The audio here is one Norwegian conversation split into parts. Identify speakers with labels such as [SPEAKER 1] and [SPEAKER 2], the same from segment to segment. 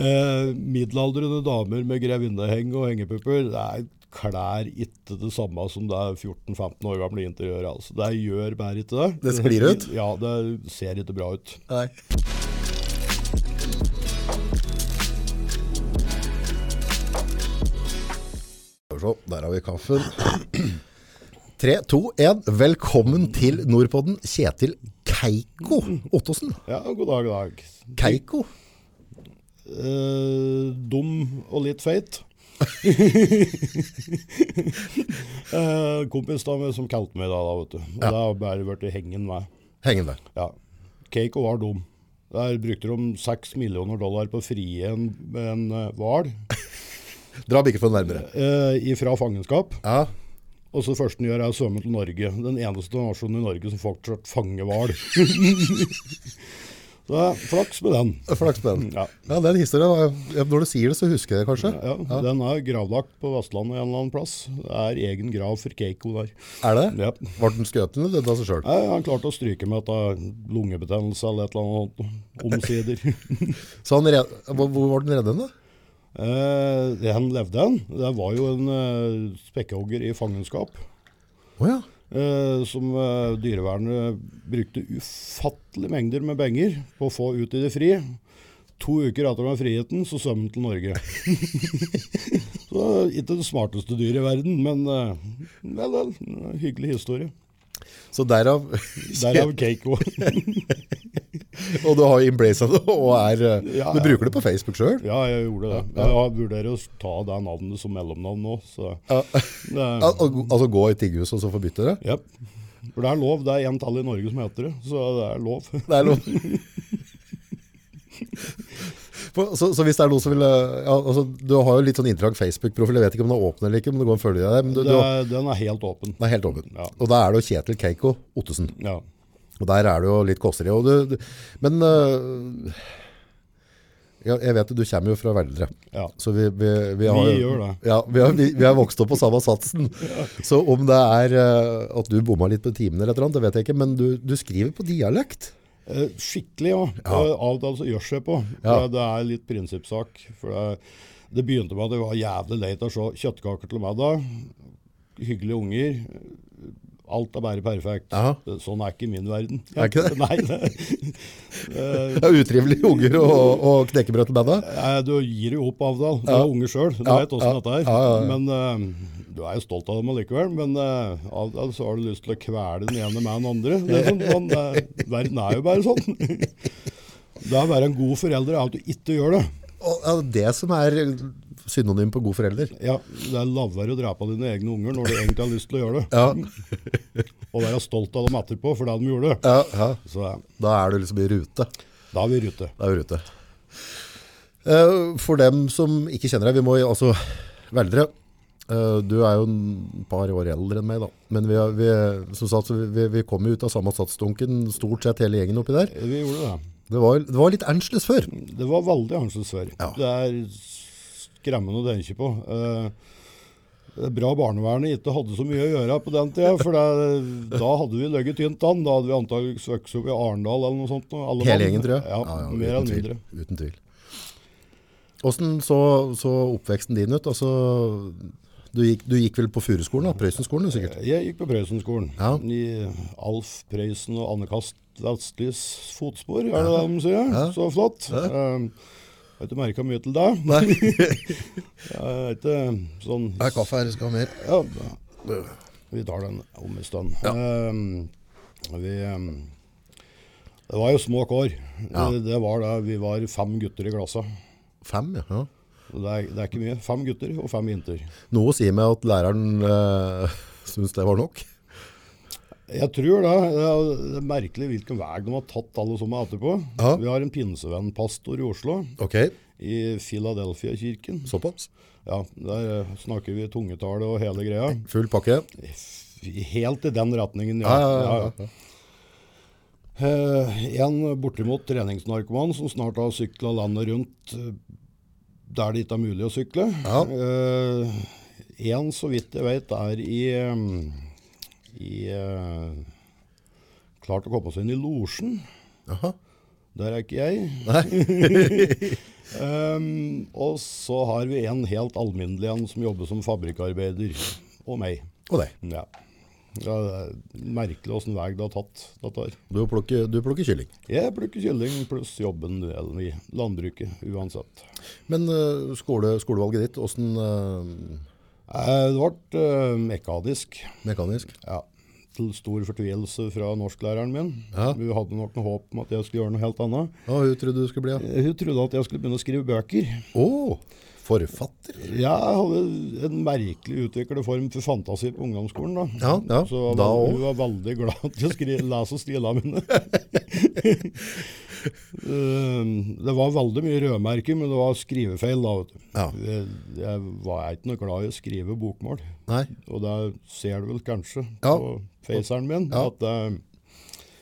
[SPEAKER 1] Eh, middelaldrende damer med grevinneheng og hengepupper det er klær ikke det samme som det er 14-15 år gamle interiøret. Altså. Det gjør bare ikke det.
[SPEAKER 2] Det sklir ut?
[SPEAKER 1] Ja, det ser ikke bra ut.
[SPEAKER 2] Nei. Skal vi se, der har vi kaffen. Tre, to, én. Velkommen til Nordpodden, Kjetil Keiko Ottosen.
[SPEAKER 1] Ja, god dag, god dag.
[SPEAKER 2] Keiko.
[SPEAKER 1] Eh, dum og litt feit. eh, kompis da med- som kalte meg da, da vet du. Og det har bare vært hengen med.
[SPEAKER 2] Hengende.
[SPEAKER 1] Ja. Keiko var dum. Der brukte de 6 millioner dollar på å frie en, en eh, hval
[SPEAKER 2] Dra mikrofonen nærmere.
[SPEAKER 1] eh, fra fangenskap.
[SPEAKER 2] Ja.
[SPEAKER 1] Og så det første den gjør, er å svømme til Norge. Den eneste nasjonen i Norge som fortsatt fanger hval. Så det er flaks med den.
[SPEAKER 2] Flaks på den.
[SPEAKER 1] Ja.
[SPEAKER 2] Ja, den historien var jo- Når du sier det, så husker jeg det kanskje.
[SPEAKER 1] Ja, Den er gravlagt på Vestlandet en eller annen plass. Det er egen grav for Keiko der.
[SPEAKER 2] Er det?
[SPEAKER 1] Ja.
[SPEAKER 2] Ble den skutt eller døde av seg sjøl?
[SPEAKER 1] Nei, han klarte å stryke med at det er lungebetennelse eller et eller annet omsider.
[SPEAKER 2] Så han red... Hvor hvor var den redd hen, da?
[SPEAKER 1] eh, det han levde en, det var jo en eh, spekkhogger i fangenskap.
[SPEAKER 2] Å ja.
[SPEAKER 1] eh, som eh, dyrevernet brukte ufattelige mengder med penger på å få ut i det fri. To uker etter den friheten, så svømte den til Norge. så ikke det smarteste dyret i verden, men eh, vel, vel, en hyggelig historie.
[SPEAKER 2] Så derav
[SPEAKER 1] Derav Keiko.
[SPEAKER 2] Og du har embracet det, og er eh,
[SPEAKER 1] Ja,
[SPEAKER 2] Du
[SPEAKER 1] ja.
[SPEAKER 2] bruker det på Facebook sjøl?
[SPEAKER 1] ja, jeg gjorde det. Jeg vurderer å ta det navnet som mellomnavn nå. Så.
[SPEAKER 2] Ja.
[SPEAKER 1] Det,
[SPEAKER 2] Al al- altså gå i tiggerhus og så forbytte det?
[SPEAKER 1] ja. For det er lov. Det er én tall i Norge som heter det, så det er lov.
[SPEAKER 2] Det er lov. For- Så, så hvis det er noen som vil eh, ja, altså, Du har jo litt sånn interakt Facebook-profil. Jeg vet ikke om den er åpen eller ikke, men det går en følge der. Men du,
[SPEAKER 1] Det,
[SPEAKER 2] du, har-
[SPEAKER 1] er- den er helt åpen.
[SPEAKER 2] den er helt åpen.
[SPEAKER 1] Ja.
[SPEAKER 2] Og da er det jo Kjetil Keiko Ottesen.
[SPEAKER 1] Ja.
[SPEAKER 2] Og der er det jo litt kåseri. Og du, du, men eh, ja, jeg vet at du kommer jo fra Veldre.
[SPEAKER 1] Ja.
[SPEAKER 2] Så vi, vi, vi, har,
[SPEAKER 1] Vi gjør det.
[SPEAKER 2] Ja, vi har, vi, vi har vokst opp på samme satsen. Så om det er eh, at du bomma litt på timen eller et eller annet, det vet jeg ikke, men du, du skriver på dialekt.
[SPEAKER 1] Eh, Skikkelig, ja. Eh, Av og til så gjør seg på.
[SPEAKER 2] Ja.
[SPEAKER 1] Det, det er litt prinsippsak. For det, det begynte med at det var jævlig leit å se kjøttkaker til middag. Hyggelige unger. Alt er bare perfekt.
[SPEAKER 2] Ja.
[SPEAKER 1] Eh, Sånn er ikke min verden.
[SPEAKER 2] Er ikke det?
[SPEAKER 1] Nei, det,
[SPEAKER 2] Det er utrivelige unger og, og knekkebrød til bandet.
[SPEAKER 1] eh, du gir jo opp av og til. Du
[SPEAKER 2] Ja.
[SPEAKER 1] er unge sjøl, du
[SPEAKER 2] Ja,
[SPEAKER 1] vet åssen
[SPEAKER 2] ja,
[SPEAKER 1] dette er.
[SPEAKER 2] ja, ja, ja.
[SPEAKER 1] Men eh, du er jo stolt av dem allikevel. Men eh, av og til så har du lyst til å kvele den ene med den andre. Det er sånn, man, eh, verden er jo bare sånn. Det å være en god forelder er at du ikke gjør det.
[SPEAKER 2] Og ja, det som er synonym på god forelder.
[SPEAKER 1] Ja, det er lavere å drepe dine egne unger når du egentlig har lyst til å gjøre det.
[SPEAKER 2] Ja,
[SPEAKER 1] Og være stolt av dem etterpå for det de gjorde.
[SPEAKER 2] ja, ja.
[SPEAKER 1] Så eh,
[SPEAKER 2] Da er du liksom i rute.
[SPEAKER 1] da er vi i rute.
[SPEAKER 2] Da er vi rute. Eh, For dem som ikke kjenner deg, vi må i- altså Veldre. eh, Du er jo en par år eldre enn meg, da. Men vi, har- vi, som sagt, så vi, vi kom jo ut av samme satsdunken, stort sett hele gjengen oppi der.
[SPEAKER 1] Vi gjorde det.
[SPEAKER 2] Det var, det var litt Angeles før.
[SPEAKER 1] Det var veldig Hansens før.
[SPEAKER 2] Ja.
[SPEAKER 1] Det er skremmende å tenke på. Eh, Det er bra barnevernet ikke hadde så mye å gjøre på den tida, for det, da hadde vi ligget tynt an. Da hadde vi antakeligvis vokst opp i Arendal eller noe sånt. og alle
[SPEAKER 2] Hele
[SPEAKER 1] mann.
[SPEAKER 2] gjengen, tror jeg.
[SPEAKER 1] Ja, mer
[SPEAKER 2] uten
[SPEAKER 1] eller
[SPEAKER 2] tvil,
[SPEAKER 1] mindre.
[SPEAKER 2] Uten tvil. Hvordan så, så oppveksten din ut? Altså, du, gikk, du gikk vel på Furuskolen, da? Prøysenskolen, du, sikkert?
[SPEAKER 1] Jeg gikk på Prøysenskolen.
[SPEAKER 2] Ja.
[SPEAKER 1] I Alf Prøysen og Anne Kast Vestlys fotspor, er det det de sier? Så flott. Eh, har ikke merka mye til deg.
[SPEAKER 2] Nei.
[SPEAKER 1] Jeg er ikke sånn
[SPEAKER 2] kaffe her, skal ha mer.
[SPEAKER 1] Ja, vi tar den om en stund. Ehm, vi ehm, Det var jo små kår.
[SPEAKER 2] Ja.
[SPEAKER 1] Det, det var det. Vi var fem gutter i klassa.
[SPEAKER 2] Fem, ja. ja.
[SPEAKER 1] Det er, det er ikke mye. Fem gutter og fem jenter.
[SPEAKER 2] Noe sier meg at læreren uh, synes det var nok.
[SPEAKER 1] Jeg tror det. Det er merkelig hvilken vei de har tatt alle sammen etterpå.
[SPEAKER 2] Ja.
[SPEAKER 1] Vi har en pinsevennpastor i Oslo,
[SPEAKER 2] Ok,
[SPEAKER 1] i Philadelphia-kirken.
[SPEAKER 2] såpass.
[SPEAKER 1] Ja, Der eh, snakker vi tungetale og hele greia.
[SPEAKER 2] Full pakke.
[SPEAKER 1] Helt i den retningen, ja.
[SPEAKER 2] Ja, ja, ja, ja.
[SPEAKER 1] Eh, en bortimot treningsnarkoman som snart har sykla landet rundt eh, der det ikke er mulig å sykle.
[SPEAKER 2] Ja.
[SPEAKER 1] Eh, en, så vidt jeg vet, er i, eh, i eh, Klart å komme seg inn i losjen.
[SPEAKER 2] Jaha.
[SPEAKER 1] Der er ikke jeg. Ehm, og så har vi en helt alminnelig en som jobber som fabrikkarbeider. Og meg.
[SPEAKER 2] Og deg.
[SPEAKER 1] Ja. ja det er merkelig åssen vei det har tatt. Dette her.
[SPEAKER 2] Du plukker, du plukker kylling.
[SPEAKER 1] Jeg plukker kylling pluss jobben eller i landbruket uansett.
[SPEAKER 2] Men eh, skole, skolevalget ditt, åssen eh,
[SPEAKER 1] Eh, Det ble eh, mekanisk.
[SPEAKER 2] mekanisk?
[SPEAKER 1] Ja. Til stor fortvilelse fra norsklæreren min.
[SPEAKER 2] Ja.
[SPEAKER 1] Hun hadde nok noe håp om at jeg skulle gjøre noe helt annet.
[SPEAKER 2] Hva hun trodde du skulle bli? da?
[SPEAKER 1] Eh, Hun trodde at jeg skulle begynne å skrive bøker.
[SPEAKER 2] Å, forfatter?
[SPEAKER 1] Jeg hadde en merkelig utviklet form for fantasi på ungdomsskolen. da.
[SPEAKER 2] Ja, ja.
[SPEAKER 1] Så jeg var-
[SPEAKER 2] Da
[SPEAKER 1] hun
[SPEAKER 2] òg.
[SPEAKER 1] var veldig glad til å skri, lese og stila mine. Eh, det var veldig mye rødmerker, men det var skrivefeil. da. vet du.
[SPEAKER 2] Ja.
[SPEAKER 1] Jeg, jeg var ikke noe glad i å skrive bokmål.
[SPEAKER 2] Nei.
[SPEAKER 1] Og det ser du vel kanskje
[SPEAKER 2] Ja.
[SPEAKER 1] på faceren min.
[SPEAKER 2] Ja.
[SPEAKER 1] at eh,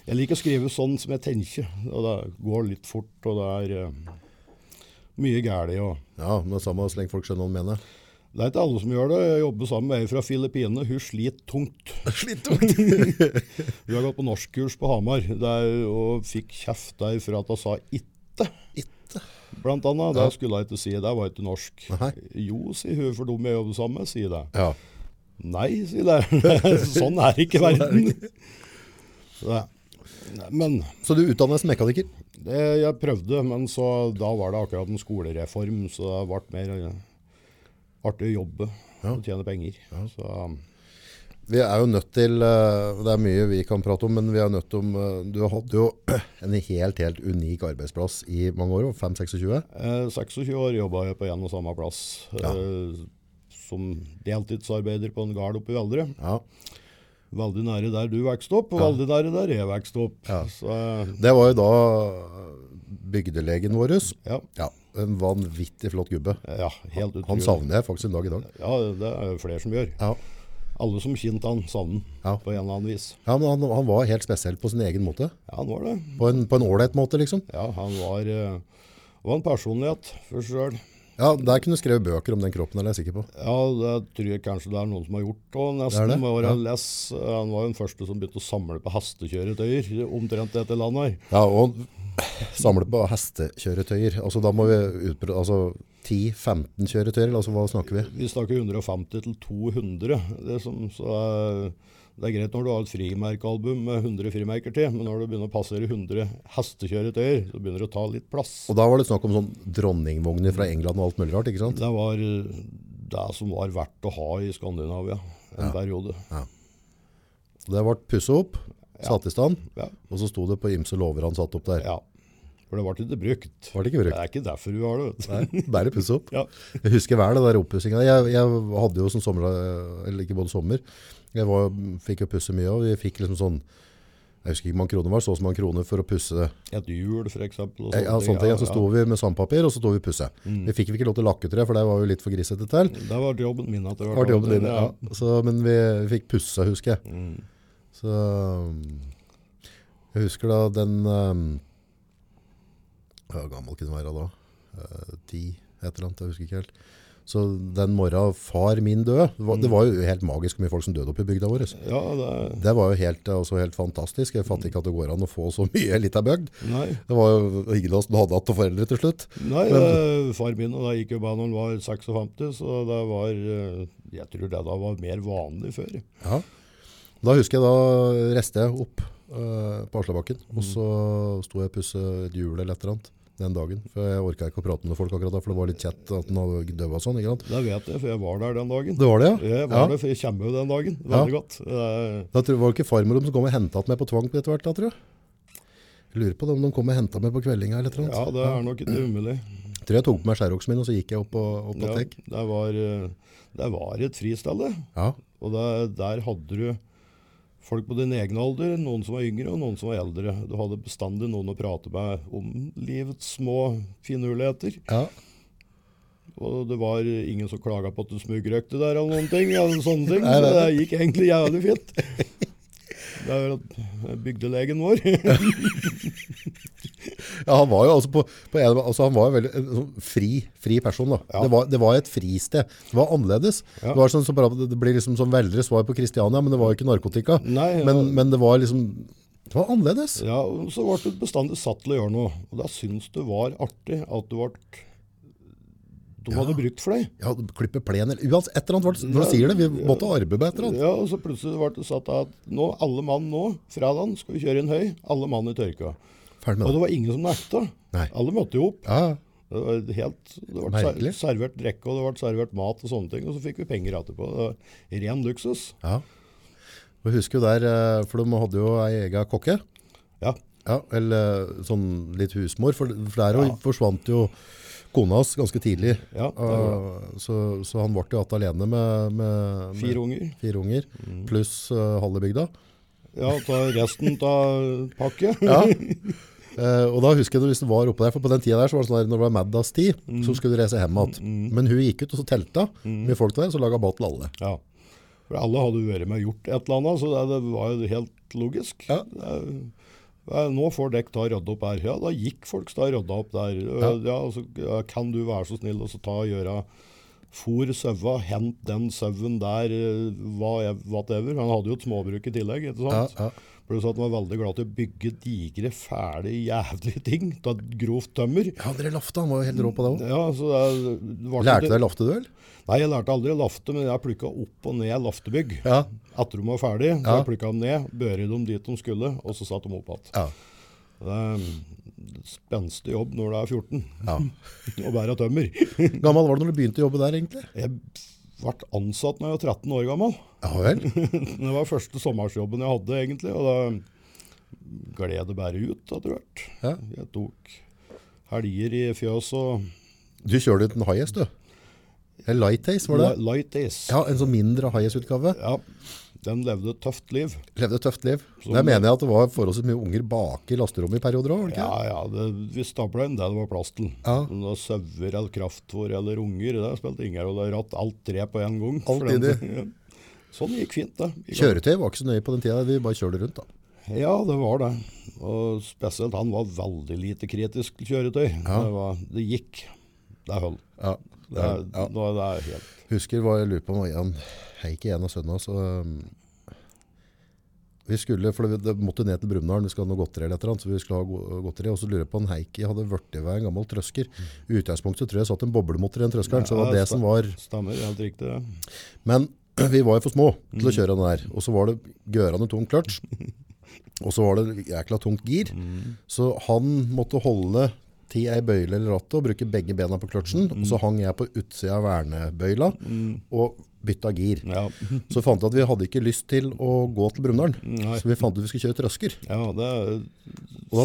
[SPEAKER 1] Jeg liker å skrive sånn som jeg tenker. og Det går litt fort, og det er eh, mye galt. og
[SPEAKER 2] Ja, men det er samme så lenge folk skjønner hva han mener.
[SPEAKER 1] Det er ikke alle som gjør det. Jeg jobber sammen med ei fra Filippinene. Hun sliter tungt.
[SPEAKER 2] Slitsomt.
[SPEAKER 1] Hun har gått på norskkurs på Hamar der, og fikk kjeft der for at hun sa 'itte'.
[SPEAKER 2] Ikke.
[SPEAKER 1] Blant annet, Det skulle jeg ikke si. Det var ikke norsk.
[SPEAKER 2] Nei.
[SPEAKER 1] Jo, sier hun, for dum jeg jobber sammen med, sier det.
[SPEAKER 2] Ja.
[SPEAKER 1] Nei, sier læreren. sånn er ikke verden. Nei. Nei, Men
[SPEAKER 2] Så du utdannes mekaniker?
[SPEAKER 1] det, jeg prøvde, men så, da var det akkurat en skolereform, så det ble mer eh, artig å jobbe og tjene penger. Så,
[SPEAKER 2] Vi er jo nødt til eh, Det er mye vi kan prate om, men vi er nødt til om eh, Du hadde jo en helt, helt unik arbeidsplass i mange år, 5-26.
[SPEAKER 1] eh, 26 år jobba jeg på en og samme plass.
[SPEAKER 2] Ja.
[SPEAKER 1] Eh, som deltidsarbeider på en gard oppe i Veldre.
[SPEAKER 2] Ja.
[SPEAKER 1] Veldig nære der du vokste opp, og veldig nære der jeg vokste opp.
[SPEAKER 2] Ja.
[SPEAKER 1] Så, eh,
[SPEAKER 2] Det var jo da eh, bygdelegen vår.
[SPEAKER 1] ja,
[SPEAKER 2] Ja, en vanvittig flott gubbe.
[SPEAKER 1] ja, helt
[SPEAKER 2] Han
[SPEAKER 1] utrolig.
[SPEAKER 2] savner jeg faktisk en dag i dag.
[SPEAKER 1] Ja, det er jo flere som gjør.
[SPEAKER 2] Ja,
[SPEAKER 1] Alle som kjente han, savner han
[SPEAKER 2] Ja.
[SPEAKER 1] på en eller annen vis.
[SPEAKER 2] ja men han, han var helt spesiell på sin egen måte.
[SPEAKER 1] Ja, han var det.
[SPEAKER 2] På en på en ålreit måte, liksom.
[SPEAKER 1] Ja, han var, eh, var en personlighet for seg sjøl.
[SPEAKER 2] Ja, Der kunne du skrevet bøker om den kroppen, er jeg sikker på.
[SPEAKER 1] Ja, det tror jeg kanskje det er noen som har gjort òg,
[SPEAKER 2] Det er
[SPEAKER 1] nesten.
[SPEAKER 2] det,
[SPEAKER 1] med åra
[SPEAKER 2] ja.
[SPEAKER 1] jeg les. Eh, Han var jo den første som begynte å samle på hestekjøretøyer omtrent dette landet her.
[SPEAKER 2] Ja, og samle på hestekjøretøyer. Altså, da må vi utprøve altså, 10-15 kjøretøyer, eller altså, hva snakker vi?
[SPEAKER 1] Vi snakker 150 til 200. Det, som, så, eh, det er greit når du har et frimerkealbum med 100 frimerker til, men når du begynner å passere 100 hestekjøretøyer, så begynner det å ta litt plass.
[SPEAKER 2] Og da var det snakk om sånn dronningvogner fra England og alt mulig rart, ikke sant?
[SPEAKER 1] Det var eh, det som var verdt å ha i Skandinavia en periode.
[SPEAKER 2] Det ble pusset opp, satt i stand,
[SPEAKER 1] Ja.
[SPEAKER 2] og så sto det på ymse lover han satt opp der.
[SPEAKER 1] ja. For det ble ikke brukt.
[SPEAKER 2] Var det ikke
[SPEAKER 1] Det
[SPEAKER 2] brukt?
[SPEAKER 1] er ikke derfor vi har det. vet du.
[SPEAKER 2] Nei, bare pusset opp.
[SPEAKER 1] Ja.
[SPEAKER 2] Jeg husker vel det der opppussingen. Jeg, jeg hadde jo sånn sommer, eller ikke både sommer, jeg var, fikk jo pusse mye, og vi fikk liksom sånn, jeg husker ikke hvor mange kroner var, så og så mange kroner for å pusse
[SPEAKER 1] Et hjul, for eksempel. og
[SPEAKER 2] Ja, ja, sånne ting.
[SPEAKER 1] Ja,
[SPEAKER 2] Så sto
[SPEAKER 1] ja. Mm.
[SPEAKER 2] vi med sandpapir, og så sto vi og pusse. Vi fikk ikke lov til å lakke, tror jeg, for det var jo litt for grisete til.
[SPEAKER 1] Det var jobben min. at det
[SPEAKER 2] Det var jobben din, ja.
[SPEAKER 1] Ja.
[SPEAKER 2] Så, men vi, vi fikk pusse, husker jeg. Så um, jeg husker da den um, Hvor gammel kunne den være da? Eh, Ti, et eller annet, jeg husker ikke helt. Så den morgenen far min døde, det var, det var jo helt magisk hvor mye folk som døde oppe i bygda vår.
[SPEAKER 1] ja, det
[SPEAKER 2] Det var jo helt, altså, helt fantastisk. Jeg fatter ikke at det går an å få så mye i ei lita bygd.
[SPEAKER 1] Nei,
[SPEAKER 2] Det var jo ingen av oss som hadde hatt noen foreldre til slutt.
[SPEAKER 1] nei det, far min og da gikk jo bare når han var 56, så det var eh, Jeg tror det da var mer vanlig før.
[SPEAKER 2] Ja. Da husker jeg da reste jeg opp eh, på Aslabakken,
[SPEAKER 1] Mhm.
[SPEAKER 2] og så sto jeg og pusset et hjul eller et eller annet den dagen. For jeg orket ikke å prate med folk akkurat da, for det var litt kjett at den hadde døva sånn, ikke sant?
[SPEAKER 1] Det vet jeg, for jeg var der den dagen.
[SPEAKER 2] Det var det, ja?
[SPEAKER 1] Jeg var der, for jeg kommer jo den dagen. Veldig godt. Eh,
[SPEAKER 2] Da tror, var det ikke farmor som kom og hentet meg på tvang på etter hvert da, tror jeg? Jeg lurer på det, om de kom og hentet meg på kveldinga eller et eller
[SPEAKER 1] Ja,
[SPEAKER 2] annet.
[SPEAKER 1] det er nok ikke umulig.
[SPEAKER 2] Jeg tror jeg tok på meg skjæroksen min, og så gikk jeg opp på, opp på
[SPEAKER 1] Ja,
[SPEAKER 2] tek.
[SPEAKER 1] det, var, eh, det var et fristed, det.
[SPEAKER 2] Ja.
[SPEAKER 1] Og der, der hadde du folk på din egen alder, noen som var yngre og noen som var eldre. Du hadde bestandig noen å prate med om livets små finurligheter.
[SPEAKER 2] ja.
[SPEAKER 1] Og det var ingen som klaga på at du smugrøkte der eller noen ting. Eller sånne ting.
[SPEAKER 2] Nei,
[SPEAKER 1] Så
[SPEAKER 2] nei,
[SPEAKER 1] det gikk egentlig jævlig fint. Det er jo at bygdelegen vår.
[SPEAKER 2] Ja, han var jo altså på, på en, altså han var jo veldig en sånn fri, fri person da.
[SPEAKER 1] Ja.
[SPEAKER 2] Det, var, det var et fristed. Det var annerledes.
[SPEAKER 1] Ja.
[SPEAKER 2] Det, var sånn, som bare- det blir liksom som veldre svar på Kristiania, men det var jo ikke narkotika.
[SPEAKER 1] Nei, ja.
[SPEAKER 2] Men, men det var liksom, det var annerledes.
[SPEAKER 1] Ja, og Så ble du bestandig satt til å gjøre noe. Og da syns du var artig at du ble De hadde brukt fløy.
[SPEAKER 2] Ja, klippe plen eller Uansett, et eller annet. var det- Når du sier det, vi måtte arbeide med et eller annet.
[SPEAKER 1] Ja, og så plutselig ble det satt at nå, alle mann nå, fredagen skal vi kjøre inn høy, alle mann i tørka.
[SPEAKER 2] Ferdig med
[SPEAKER 1] Og
[SPEAKER 2] det.
[SPEAKER 1] det var ingen som nekta.
[SPEAKER 2] Nei.
[SPEAKER 1] Alle møtte jo opp.
[SPEAKER 2] Ja, ja.
[SPEAKER 1] Det var helt, det ble ser-
[SPEAKER 2] Merkelig.
[SPEAKER 1] servert drikke, og det ble servert mat og sånne ting, og så fikk vi penger etterpå. Det var ren luksus.
[SPEAKER 2] ja. Og jeg husker jo der, eh, for de hadde jo ei egen kokke.
[SPEAKER 1] Ja,
[SPEAKER 2] Ja, eller sånn litt husmor, for, for der jo forsvant jo kona hans ganske tidlig.
[SPEAKER 1] Ja, det
[SPEAKER 2] Eh, så, så han ble jo igjen alene med, med, med
[SPEAKER 1] fire unger. Mm.
[SPEAKER 2] fire unger, pluss eh, halve bygda.
[SPEAKER 1] Ja, ta resten av pakke.
[SPEAKER 2] Ja. Eh, og da husker jeg det hvis du var oppe der, for på den tida der så var det sånn der, når det var middagstid,
[SPEAKER 1] Mm.
[SPEAKER 2] så skulle du reise hjem igjen. Men hun gikk ut og så telta med folk der, så laga mat til alle.
[SPEAKER 1] Ja. For alle hadde jo vært med og gjort et eller annet, så det, det var jo helt logisk.
[SPEAKER 2] Ja.
[SPEAKER 1] Det er- det er- nå får dere ta og rydde opp her. Ja, da gikk folk da og rydda opp der. Ja. og så, ja, kan du være så snill og så ta og gjøre Fôr saua, hent den sauen der, eh, hva ev- whatever. Han hadde jo et småbruk i tillegg, ikke
[SPEAKER 2] Ja,
[SPEAKER 1] sant?
[SPEAKER 2] ja.
[SPEAKER 1] Pluss at han var veldig glad til å bygge digre, fæle, jævlige ting av grovt tømmer.
[SPEAKER 2] ja André Lafte, han var jo helt rå på det òg.
[SPEAKER 1] Ja, så det, er- det var ikke-
[SPEAKER 2] Lærte du deg lafteduell?
[SPEAKER 1] Nei, jeg lærte aldri lafte, men jeg plukka opp og ned laftebygg.
[SPEAKER 2] Ja.
[SPEAKER 1] Etter de var ferdig, så
[SPEAKER 2] Ja.
[SPEAKER 1] jeg plukka dem ned, børi dem dit de skulle, og så satte de opp igjen.
[SPEAKER 2] ja.
[SPEAKER 1] Det er en spenstig jobb når du er 14
[SPEAKER 2] ja.
[SPEAKER 1] og bærer tømmer.
[SPEAKER 2] Gammel var du når du begynte å jobbe der, egentlig?
[SPEAKER 1] Jeg ble ansatt da jeg var 13 år gammel.
[SPEAKER 2] Ja vel?
[SPEAKER 1] Det var første sommersjobben jeg hadde, egentlig, og da gled det bare ut etter hvert.
[SPEAKER 2] Ja.
[SPEAKER 1] Jeg tok helger i fjøs og
[SPEAKER 2] Du kjører ut en highest, du. En light haze, var det?
[SPEAKER 1] li- light is.
[SPEAKER 2] Ja, en sånn mindre highest-utgave.
[SPEAKER 1] Ja, Den levde et tøft liv.
[SPEAKER 2] Levde et tøft liv. Der mener jeg at det var forholdsvis mye unger bak i lasterommet i perioder òg, var det ikke?
[SPEAKER 1] Ja, ja, det, vi stabla inn det det var plass til.
[SPEAKER 2] Ja.
[SPEAKER 1] Om det var sauer eller kraftfôr eller unger, det spilte ingen rolle. Ratt alt tre på en gang.
[SPEAKER 2] Alt
[SPEAKER 1] For
[SPEAKER 2] i
[SPEAKER 1] den- Sånn gikk fint, det. Vi-
[SPEAKER 2] Kjøretøy var ikke så nøye på den tida, vi bare kjørte rundt, da.
[SPEAKER 1] Ja, det var det. Og spesielt han var veldig lite kritisk til kjøretøy. Det, var, det gikk. Det holdt.
[SPEAKER 2] Ja.
[SPEAKER 1] Det, er- nå er det helt
[SPEAKER 2] Husker hva jeg lurer på om Jan Jeg gikk igjen av sønnen hans. og, um, Vi skulle, for det, det måtte ned til Brumunddal, vi skulle ha noe godteri eller et eller annet, så vi skulle ha go- godteri, og så lurer jeg på om Heikki hadde vært i vei en gammel trøsker. I utgangspunktet tror jeg satt en boblemotor i den trøskeren, så Mm. det var det som var
[SPEAKER 1] Stemmer, helt riktig. det.
[SPEAKER 2] Men vi var jo for små til å
[SPEAKER 1] Mm.
[SPEAKER 2] kjøre den der. Og så var det gørende tung kløtsj. Og så var det jækla tungt gir.
[SPEAKER 1] Mm.
[SPEAKER 2] Så han måtte holde til ei bøyle eller rattet og bruke begge bena på kløtsjen. Og
[SPEAKER 1] Mm.
[SPEAKER 2] så hang jeg på utsida av vernebøyla og bytta gir.
[SPEAKER 1] Ja.
[SPEAKER 2] Så fant jeg at vi hadde ikke lyst til å gå til Brumunddal.
[SPEAKER 1] Mm. Nei.
[SPEAKER 2] Så vi fant ut vi skulle kjøre trøsker.
[SPEAKER 1] ja, det
[SPEAKER 2] Og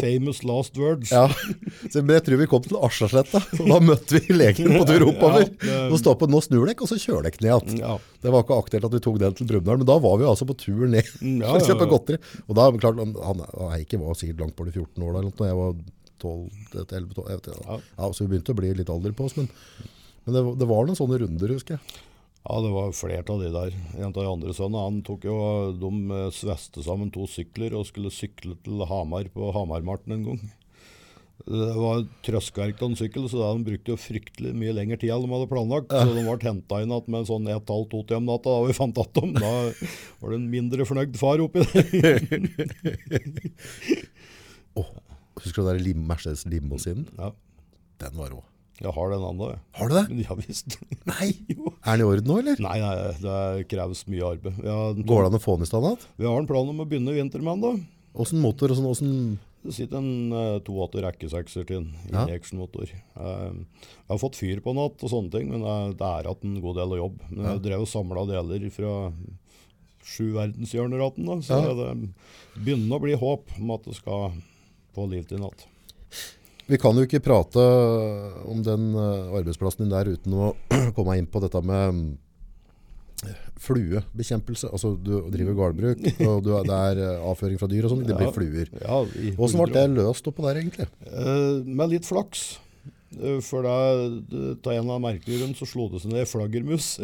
[SPEAKER 1] er
[SPEAKER 2] da-
[SPEAKER 1] famous last words.
[SPEAKER 2] Ja, så men jeg tror vi kom til Arsasletta, og da møtte vi legen på tur oppover.
[SPEAKER 1] Ja, det-
[SPEAKER 2] Nå stoppet, nå snur dere, og så kjører dere ned igjen.
[SPEAKER 1] Ja.
[SPEAKER 2] Det var ikke aktuelt at vi tok den til Brumunddal, men da var vi altså på tur ned
[SPEAKER 1] Mm, ja,
[SPEAKER 2] for å
[SPEAKER 1] ja,
[SPEAKER 2] kjøpe
[SPEAKER 1] ja.
[SPEAKER 2] godteri. Og da, men klart, han, han han Heikki var sikkert langt på de 14 år da, eller noe, jeg var 12-11, jeg vet ikke. Ja.
[SPEAKER 1] Ja.
[SPEAKER 2] så vi begynte å bli litt alder på oss, men, men det, var- det var noen sånne runder, husker jeg.
[SPEAKER 1] Ja, det var flere av de der. En av de andre sønnene han tok jo, de eh, sveste sammen to sykler og skulle sykle til Hamar på Hamarmarten en gang. Det var trøskarkt av en sykkel, så de brukte jo fryktelig mye lengre tid enn de hadde planlagt. Så de ble henta inn igjen med en sånn 1,5-2 om natta da vi fant at dem. Da var det en mindre fornøyd far oppi der.
[SPEAKER 2] Åh, husker du den der lim, Mercedes limousinen?
[SPEAKER 1] Ja,
[SPEAKER 2] Den var rå.
[SPEAKER 1] jeg har den ennå, jeg.
[SPEAKER 2] Har du det?
[SPEAKER 1] Ja visst.
[SPEAKER 2] Nei!
[SPEAKER 1] Jo.
[SPEAKER 2] Er den i orden nå, eller?
[SPEAKER 1] Nei, nei, det kreves mye arbeid. Vi har, en-
[SPEAKER 2] Går det an å få den i stand igjen?
[SPEAKER 1] vi har en plan om å begynne i vinter med den, da.
[SPEAKER 2] Åssen motor og sånn, åssen
[SPEAKER 1] Det sitter en uh, 82 rekkesekser til en
[SPEAKER 2] Ja.
[SPEAKER 1] injectionmotor. Eh, jeg har fått fyr på den igjen og sånne ting, men eh, det er igjen en god del av jobb. Men jeg drev og samla deler fra sju verdenshjørner igjen, da, så
[SPEAKER 2] Ja.
[SPEAKER 1] det begynner å bli håp om at det skal få liv til natt.
[SPEAKER 2] Vi kan jo ikke prate om den eh, arbeidsplassen din der uten å komme inn på dette med mm, fluebekjempelse. Altså, du driver gårdbruk, og du, det er eh, avføring fra dyr og sånn. Det blir
[SPEAKER 1] Ja.
[SPEAKER 2] fluer.
[SPEAKER 1] Ja, i
[SPEAKER 2] Hvordan ble
[SPEAKER 1] 100
[SPEAKER 2] det løst oppå der, egentlig?
[SPEAKER 1] Eh, med litt flaks. Eh, For da, det- ta en av merkelig grunn, så slo det seg ned flaggermus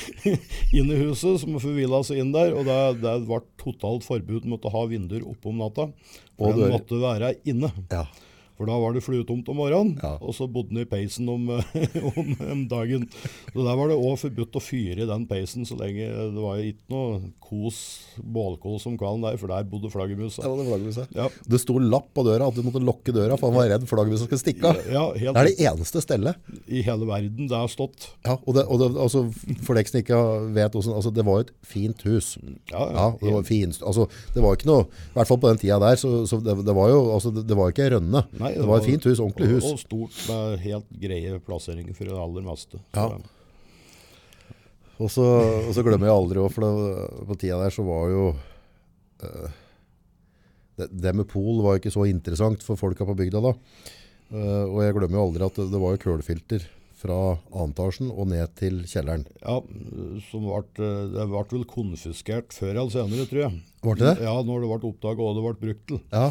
[SPEAKER 1] inn i huset, som forvilla seg inn der. Og det, det ble totalt forbud mot å ha vinduer oppe om natta. Og
[SPEAKER 2] Og
[SPEAKER 1] den
[SPEAKER 2] dører.
[SPEAKER 1] måtte være inne.
[SPEAKER 2] Ja.
[SPEAKER 1] For da var det fluetomt om morgenen,
[SPEAKER 2] Ja.
[SPEAKER 1] og så bodde den i peisen om, om om dagen. Så der var det òg forbudt å fyre i den peisen så lenge det var jo ikke noe kos, bålkos om kvelden der, for der bodde flaggermusa.
[SPEAKER 2] Ja, det, flaggermuset.
[SPEAKER 1] Ja.
[SPEAKER 2] det sto lapp på døra at du måtte lokke døra, for han var redd flaggermusa skulle stikke av.
[SPEAKER 1] Ja, helt
[SPEAKER 2] Det er det eneste stellet.
[SPEAKER 1] i hele verden det har stått.
[SPEAKER 2] Ja, og det, og det, altså, for deg som ikke vet hvordan, altså, det var jo et fint hus.
[SPEAKER 1] Ja, ja.
[SPEAKER 2] ja det var fint, altså, det var ikke noe, i hvert fall på den tida der, så, så det, det var jo, altså, det, det var jo ikke rønne.
[SPEAKER 1] Nei,
[SPEAKER 2] det var et fint hus, ordentlig hus.
[SPEAKER 1] Og, og stort, med helt greie plasseringer for det aller meste. Så,
[SPEAKER 2] Ja. Og så, og så glemmer jeg aldri også, for det, på tida der så var jo eh, det, det med pol var jo ikke så interessant for folka på bygda da. Eh, og jeg glemmer jo aldri at det, det var jo kølfilter fra antasjen og ned til kjelleren.
[SPEAKER 1] ja, som vart, eh, det ble vel konfiskert før eller senere, tror jeg.
[SPEAKER 2] Var det det?
[SPEAKER 1] Ja, når det ble oppdaget og det ble brukt til.
[SPEAKER 2] Ja,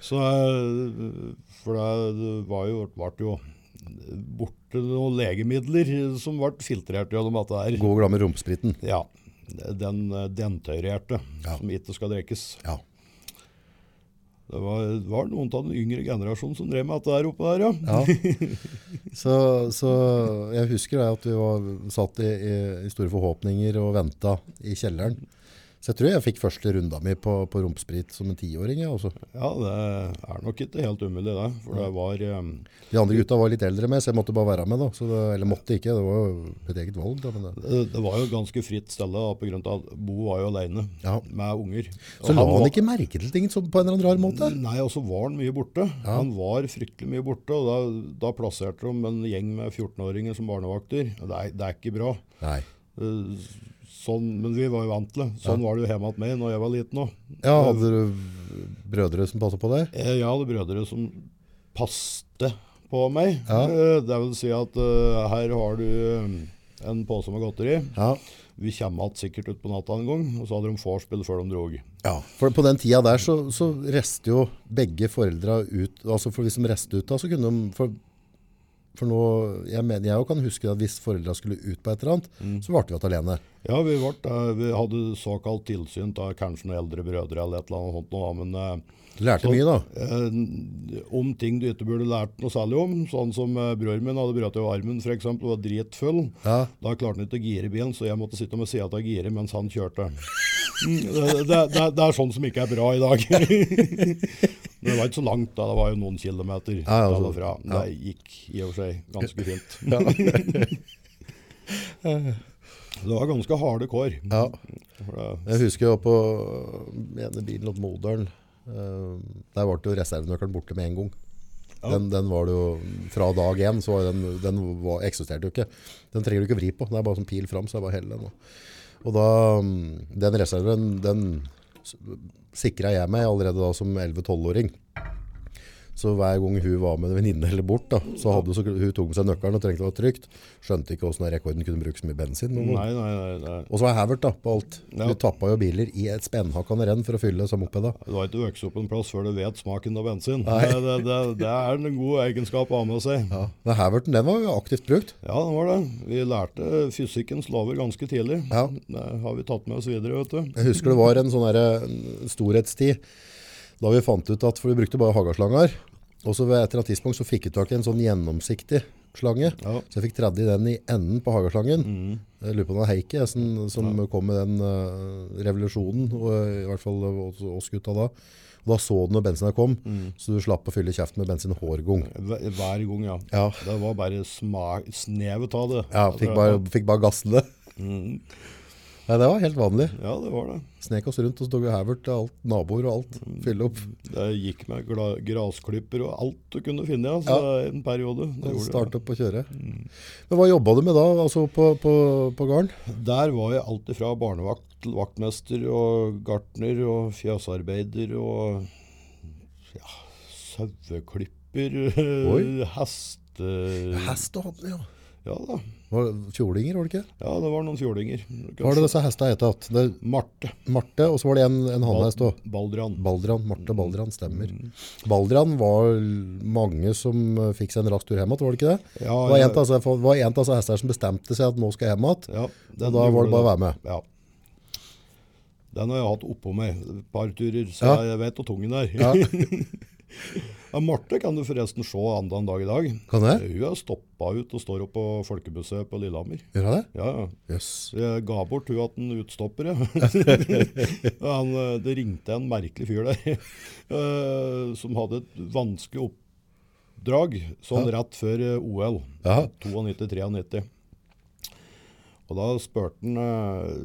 [SPEAKER 1] Så, eh, for det, det var jo, ble jo borte noen legemidler som ble filtrert gjennom dette her.
[SPEAKER 2] god og glad med romspriten.
[SPEAKER 1] Ja, den eh, dentøyrerte som ikke skal drikkes.
[SPEAKER 2] Ja.
[SPEAKER 1] Det var, var noen av den yngre generasjonen som drev med dette her oppe der, ja.
[SPEAKER 2] Ja. Så, så jeg husker da at vi var satt i, i, i store forhåpninger og venta i kjelleren. Så jeg tror jeg fikk første runda mi på, på romsprit som en tiåring. Ja, altså.
[SPEAKER 1] Ja, det er nok ikke helt umulig det, for det var eh,
[SPEAKER 2] De andre gutta var litt eldre med, så jeg måtte bare være med. da. Så det, eller måtte ikke, det var jo mitt eget valg. da. Men det.
[SPEAKER 1] det det var jo et ganske fritt stelle da, på grunn av at Bo var jo alene
[SPEAKER 2] Ja.
[SPEAKER 1] med unger.
[SPEAKER 2] Så la
[SPEAKER 1] var-
[SPEAKER 2] han ikke merke til ting som, på en eller annen rar måte?
[SPEAKER 1] Nei, og så var han mye borte. Han var fryktelig mye borte, og da, da plasserte de en gjeng med 14-åringer som barnevakter. Det er, det er ikke bra.
[SPEAKER 2] Nei.
[SPEAKER 1] Eh, Sånn, men vi var jo vant til det. Sånn var det jo hjemme hos meg når jeg var liten òg.
[SPEAKER 2] Ja, Hadde du brødre som passa på deg?
[SPEAKER 1] Eh, Jeg hadde brødre som passte på meg.
[SPEAKER 2] Ja.
[SPEAKER 1] Eh, Det vil si at eh, her har du eh, en pose med godteri.
[SPEAKER 2] Ja.
[SPEAKER 1] Vi kommer att sikkert ut på natta en gang, og så hadde de vorspiel før de drog.
[SPEAKER 2] ja. For på den tida der så, så reste jo begge foreldra ut. altså for Hvis de reste ut da, så kunne de for, for nå, Jeg mener, jeg jo kan huske at hvis foreldra skulle ut på et eller annet, så ble vi igjen alene.
[SPEAKER 1] Ja, vi, ble, eh, vi hadde såkalt tilsyn av kanskje noen eldre brødre eller et eller annet sånt. Nå, men eh,
[SPEAKER 2] Du lærte mye, da.
[SPEAKER 1] eh, om ting du ikke burde lært noe særlig om, sånn som eh, broren min hadde brøt jo armen f.eks. og var dritfull.
[SPEAKER 2] Ja.
[SPEAKER 1] Da klarte han ikke å gire bilen, så jeg måtte sitte med sida av giret mens han kjørte. Mm, Det, det, det, det er sånn som ikke er bra i dag. Men det var ikke så langt da, det var jo noen kilometer
[SPEAKER 2] Ja, ja,
[SPEAKER 1] der
[SPEAKER 2] så-
[SPEAKER 1] og fra. Det gikk i og for seg ganske fint. det var ganske harde kår.
[SPEAKER 2] ja.
[SPEAKER 1] For det-
[SPEAKER 2] Jeg husker jo på den ene bilen opp Modern. Der ble jo reservenøkkelen borte med en gang.
[SPEAKER 1] Ja.
[SPEAKER 2] Den, den var det jo fra dag én, så var den, den var, eksisterte jo ikke. Den trenger du ikke vri på. Det er bare sånn pil fram, så jeg bare heller den. da. Og da mm, Den reserven, den s- sikra jeg meg allerede da som 11-12-åring. Så hver gang hun var med en venninne eller bort, da, så hadde hun, så, hun tok med seg nøkkelen og trengte det var trygt. Skjønte ikke hvordan den rekorden kunne bruke så mye bensin. noen gang.
[SPEAKER 1] Nei, nei, nei, nei.
[SPEAKER 2] Og så var Havert da, på alt.
[SPEAKER 1] Ja.
[SPEAKER 2] Vi tappa jo biler i et spennhakkende renn for å fylle som oppe da.
[SPEAKER 1] Du har ikke vokst opp en plass før du vet smaken av bensin. Det, det, det, det er en god egenskap å ha med seg.
[SPEAKER 2] Ja. Men Haverten, den var jo aktivt brukt.
[SPEAKER 1] Ja, det var det. Vi lærte fysikkens lover ganske tidlig.
[SPEAKER 2] Ja.
[SPEAKER 1] Det har vi tatt med oss videre, vet du.
[SPEAKER 2] Jeg husker det var en sånn derre, en storhetstid da vi fant ut at For vi brukte bare hagaslanger. Og så ved et eller annet tidspunkt så fikk vi tak i en sånn gjennomsiktig slange.
[SPEAKER 1] Ja. Mm.
[SPEAKER 2] Så jeg fikk tredd i den i enden på hageslangen. Jeg lurer på om det var Heikki jeg, som, som kom med den eh, revolusjonen, og, eh, i hvert fall eh, oss- oss gutta da. Og da så du når bensinen kom,
[SPEAKER 1] Mm.
[SPEAKER 2] så du slapp å fylle kjeften med bensin hver gang.
[SPEAKER 1] Hver hver gang, ja.
[SPEAKER 2] Ja.
[SPEAKER 1] Det var bare sma snevet av det. Altså,
[SPEAKER 2] Ja, fikk bare, fikk bare gassen det. Nei, det var helt vanlig.
[SPEAKER 1] Ja, det var det.
[SPEAKER 2] Snek oss rundt, og så tok vi Havert til alt, naboer og alt. Fylle opp.
[SPEAKER 1] Det gikk med gla grasklipper og alt du kunne finne ja, så i en periode. Det gjorde det.
[SPEAKER 2] Starte opp og kjøre. Men hva jobba du med da, altså på, på, på gården?
[SPEAKER 1] Der var jeg alt ifra barnevakt til vaktmester og gartner og fjøsarbeider og ja, saueklipper,
[SPEAKER 2] Oi.
[SPEAKER 1] heste...
[SPEAKER 2] Hest og hadde, ja.
[SPEAKER 1] Ja da.
[SPEAKER 2] Var det fjordinger, var det ikke?
[SPEAKER 1] Ja, det var noen fjordinger.
[SPEAKER 2] Hva var det disse hestene het igjen? Det er
[SPEAKER 1] Marte.
[SPEAKER 2] Marte, og så var det en, en hannhest òg.
[SPEAKER 1] Baldrian.
[SPEAKER 2] Baldrian, Marte Baldrian, stemmer. Baldrian var mange som eh, fikk seg en rask tur hjem igjen, var det ikke det?
[SPEAKER 1] Ja,
[SPEAKER 2] Det var
[SPEAKER 1] jeg-
[SPEAKER 2] en av disse- det var en av disse hestene som bestemte seg at nå skal jeg hjem igjen.
[SPEAKER 1] Ja,
[SPEAKER 2] Og da var det bare å være med.
[SPEAKER 1] Ja. Den har jeg hatt oppå meg et par turer, så
[SPEAKER 2] Ja.
[SPEAKER 1] jeg, jeg vet hvor tung den er.
[SPEAKER 2] Ja.
[SPEAKER 1] Ja, Marte kan du forresten se enda en dag i dag.
[SPEAKER 2] Kan jeg?
[SPEAKER 1] Hun er stoppa ut og står oppe på Folkemuseet på Lillehammer.
[SPEAKER 2] Gjør jeg det?
[SPEAKER 1] Ja, ja.
[SPEAKER 2] Jøss.
[SPEAKER 1] Så Jeg ga bort hun at den utstopper, ja. Han, eh, det ringte en merkelig fyr der eh, som hadde et vanskelig oppdrag sånn rett før eh, OL.
[SPEAKER 2] Ja.
[SPEAKER 1] 92-93. Og da spurte han eh,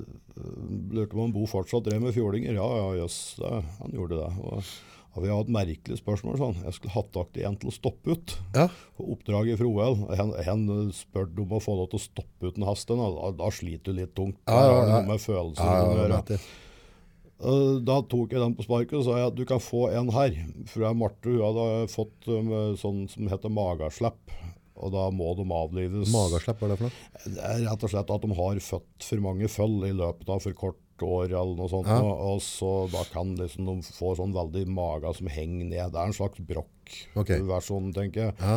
[SPEAKER 1] Lurte på om Bo fortsatt drev med fjordinger. Ja, ja, jøss, det- han gjorde det. Og, ja, vi har et merkelig spørsmål, sa han. Jeg skulle hatt tak i en til å stoppe ut
[SPEAKER 2] Ja.
[SPEAKER 1] på oppdraget fra OL. Han, han spurte om å få lov til å stoppe uten hasten. og Da, da sliter du litt tungt. Da
[SPEAKER 2] Ja, ja,
[SPEAKER 1] har du
[SPEAKER 2] ja.
[SPEAKER 1] noe med følelser
[SPEAKER 2] Ja,
[SPEAKER 1] å
[SPEAKER 2] ja,
[SPEAKER 1] gjøre.
[SPEAKER 2] vet jeg.
[SPEAKER 1] Eh, Da tok jeg den på sparket og sa jeg at du kan få en her. Fra Marte hun hadde fått um, sånn som heter magaslepp. Og da må de avlives.
[SPEAKER 2] Magaslepp, hva er det for noe?
[SPEAKER 1] Det er rett og slett at de har født for mange føll i løpet av for kort år eller noe sånt.
[SPEAKER 2] Ja.
[SPEAKER 1] Og, og så da kan liksom de få sånn veldig mage som henger ned. Det er en slags
[SPEAKER 2] Ok.
[SPEAKER 1] brokk-versjon, tenker jeg.
[SPEAKER 2] Ja.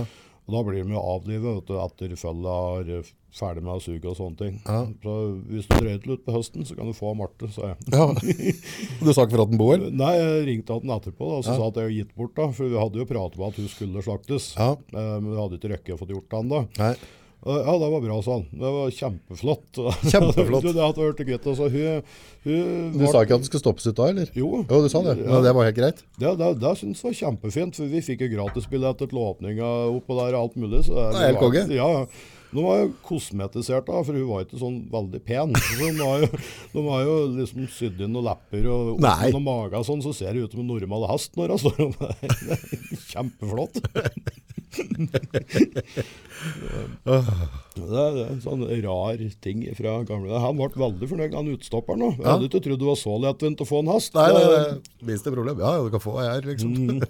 [SPEAKER 1] Og da blir de jo avlivet vet du, etter føllet er ferdig med å suge og sånne ting.
[SPEAKER 2] Ja.
[SPEAKER 1] Så hvis du drøyer til ut på høsten, så kan du få av Marte, sa jeg.
[SPEAKER 2] ja. Du sa ikke for at den bor?
[SPEAKER 1] Nei, jeg ringte han etterpå da, og så sa at jeg har gitt bort, da, for vi hadde jo pratet om at hun skulle slaktes.
[SPEAKER 2] Ja.
[SPEAKER 1] Eh, Men vi hadde ikke røkket å få gjort det ennå.
[SPEAKER 2] Nei.
[SPEAKER 1] Eh, Ja, det var bra, sa han. Det var kjempeflott.
[SPEAKER 2] Kjempeflott.
[SPEAKER 1] du, det hadde vært gutt, altså. Hun, hun
[SPEAKER 2] Du
[SPEAKER 1] var-
[SPEAKER 2] sa ikke at den skulle stoppes ut da, eller?
[SPEAKER 1] Jo,
[SPEAKER 2] Jo, du sa det.
[SPEAKER 1] Ja.
[SPEAKER 2] Men det var helt greit.
[SPEAKER 1] det, det, det synes jeg var kjempefint, for vi fikk jo gratisbilletter til åpninga oppå der og alt mulig. Så det,
[SPEAKER 2] Det er helt
[SPEAKER 1] var-
[SPEAKER 2] konge.
[SPEAKER 1] Ja, Nå var jo kosmetisert, da, for hun var ikke sånn veldig pen. Så de har jo, de har jo liksom sydd inn noen lepper og opp
[SPEAKER 2] Nei.
[SPEAKER 1] noen mager og sånn, så ser hun ut som en normal hest når hun står om der. Det er Kjempeflott. Det er, det er en sånn rar ting fra gamle dager. Han ble veldig fornøyd, han utstopperen. da. Jeg
[SPEAKER 2] Ja.
[SPEAKER 1] hadde ikke trodd det var så lettvint å få en hest.
[SPEAKER 2] Nei,
[SPEAKER 1] Det-
[SPEAKER 2] det er minste problem. Ja, du kan få her, liksom.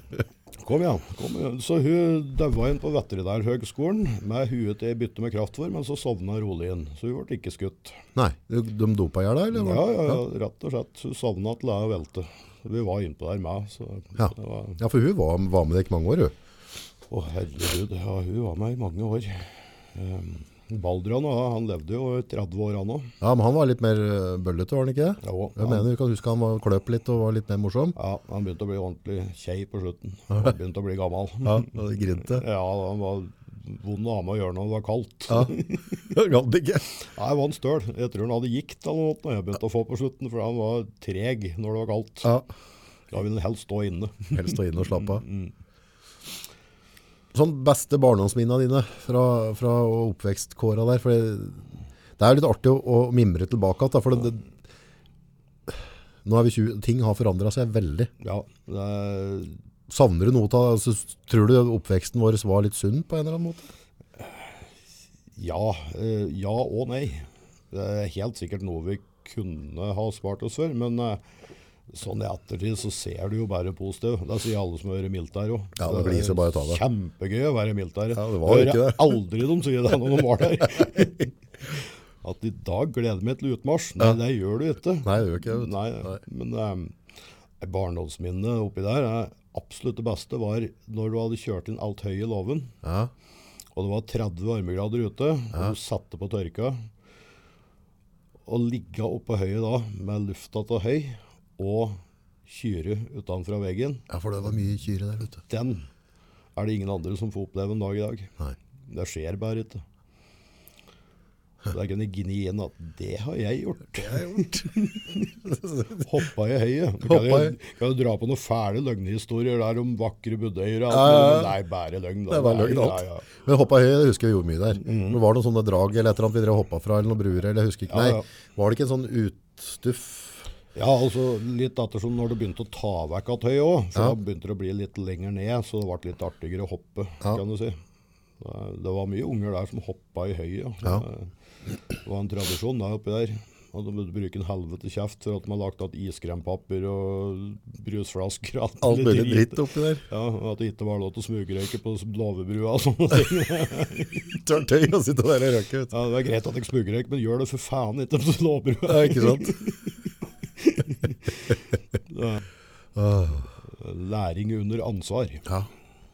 [SPEAKER 1] Kom igjen. kom igjen. Så hun daua inn på Veterinærhøgskolen med huet til i bytte med kraftfor, men så sovna hun rolig inn. Så hun ble ikke skutt.
[SPEAKER 2] Nei, du- de dopa her da, eller?
[SPEAKER 1] Ja,
[SPEAKER 2] hva?
[SPEAKER 1] ja, ja, rett og slett. Hun sovna til jeg velte. Vi var innpå der med, så
[SPEAKER 2] Ja.
[SPEAKER 1] det var
[SPEAKER 2] Ja, for hun var, var med deg ikke mange år, hun.
[SPEAKER 1] Å, herregud. Ja, hun var med i mange år. Um, Baldrian ja, han levde jo i 30 år, han òg.
[SPEAKER 2] Ja, men han var litt mer eh, bøllete, var han ikke det?
[SPEAKER 1] Ja,
[SPEAKER 2] Jeg mener, du kan huske han var kløp litt og var litt mer morsom.
[SPEAKER 1] ja, han begynte å bli ordentlig kjei på slutten. Han begynte å bli gammel.
[SPEAKER 2] Ja, og grinte.
[SPEAKER 1] Ja, han var vond å ha med å gjøre når det var kaldt.
[SPEAKER 2] Ja, gadd ikke.
[SPEAKER 1] Nei, jeg var en støl. Jeg tror han hadde gikt eller noe når jeg begynte å få på slutten, for han var treg når det var kaldt.
[SPEAKER 2] Ja,
[SPEAKER 1] Da ville han helst stå inne.
[SPEAKER 2] helst stå inn og slappe av.
[SPEAKER 1] Mm,
[SPEAKER 2] Sånn beste barndomsminna dine fra, fra oppvekstkåra der, for det, det er litt artig å, å mimre tilbake, at da, for det, det, nå er vi 20, ting har forandret seg veldig.
[SPEAKER 1] Ja, det,
[SPEAKER 2] Savner du noe av, altså, tror du oppveksten vår var litt sunn på en eller annen måte?
[SPEAKER 1] ja, eh, ja og nei. Det er helt sikkert noe vi kunne ha spart oss for, men eh, sånn i ettertid så ser du jo bare positiv. Det sier alle som hører mildt der òg.
[SPEAKER 2] Ja, det blir så bare å ta det.
[SPEAKER 1] Kjempegøy å være mildt der.
[SPEAKER 2] Ja, det var
[SPEAKER 1] Hører
[SPEAKER 2] ikke det.
[SPEAKER 1] aldri de sier det når de var der. At i dag gleder jeg meg til utmarsj. Nei, det gjør du ikke.
[SPEAKER 2] Nei, det gjør ikke det. vet du.
[SPEAKER 1] Nei, men um, barndomsminnet oppi der er absolutt det beste var når du hadde kjørt inn alt høy i låven,
[SPEAKER 2] Ja,
[SPEAKER 1] og det var 30 varmegrader ute, og du satte på tørka, og ligga oppå høyet da, med lufta til høy, og kyre utenfra veggen,
[SPEAKER 2] ja, for det var mye kyre der, vet du.
[SPEAKER 1] den er det ingen andre som får oppleve en dag i dag.
[SPEAKER 2] Nei.
[SPEAKER 1] Det skjer bare ikke. Da kan jeg gni inn at det har jeg gjort. Hoppa i høyet. Du Kan,
[SPEAKER 2] Hoppa i-
[SPEAKER 1] jo- kan jo dra på noen fæle løgnehistorier der om vakre budøyer. og alt
[SPEAKER 2] Ja, ja, ja.
[SPEAKER 1] mulig, men Det er bare løgn. da.
[SPEAKER 2] Det var
[SPEAKER 1] Nei,
[SPEAKER 2] løgn alt.
[SPEAKER 1] ja, ja.
[SPEAKER 2] Men hoppa høy, jeg husker vi gjorde mye der. Det var noen sånne drag eller et eller annet vi drev og hoppa fra, eller noen bruer, eller jeg husker ikke.
[SPEAKER 1] Ja,
[SPEAKER 2] Nei,
[SPEAKER 1] ja.
[SPEAKER 2] var det ikke en sånn utstuff?
[SPEAKER 1] Ja, altså litt ettersom når du begynte å ta vekk av tøyet òg, for da begynte det å bli litt lenger ned, så det ble litt artigere å hoppe,
[SPEAKER 2] Ja.
[SPEAKER 1] kan du si. Det det var mye unger der som hoppa i høyet.
[SPEAKER 2] Ja.
[SPEAKER 1] Det var en tradisjon der oppi der. Og du måtte bruke en helvete kjeft for at man lagt igjen iskrempapir og brusflasker. og
[SPEAKER 2] Alt mulig
[SPEAKER 1] dritt.
[SPEAKER 2] dritt oppi der.
[SPEAKER 1] Ja, og at det ikke var lov til å smugrøyke på låvebrua og sånne ting.
[SPEAKER 2] Tørt høy å sitte der og røyke ut.
[SPEAKER 1] Ja, det er greit at jeg smugrøyker, men gjør det for faen ikke på låvebrua.
[SPEAKER 2] Ja, ikke sant? Ah.
[SPEAKER 1] Læring under ansvar.
[SPEAKER 2] Ja.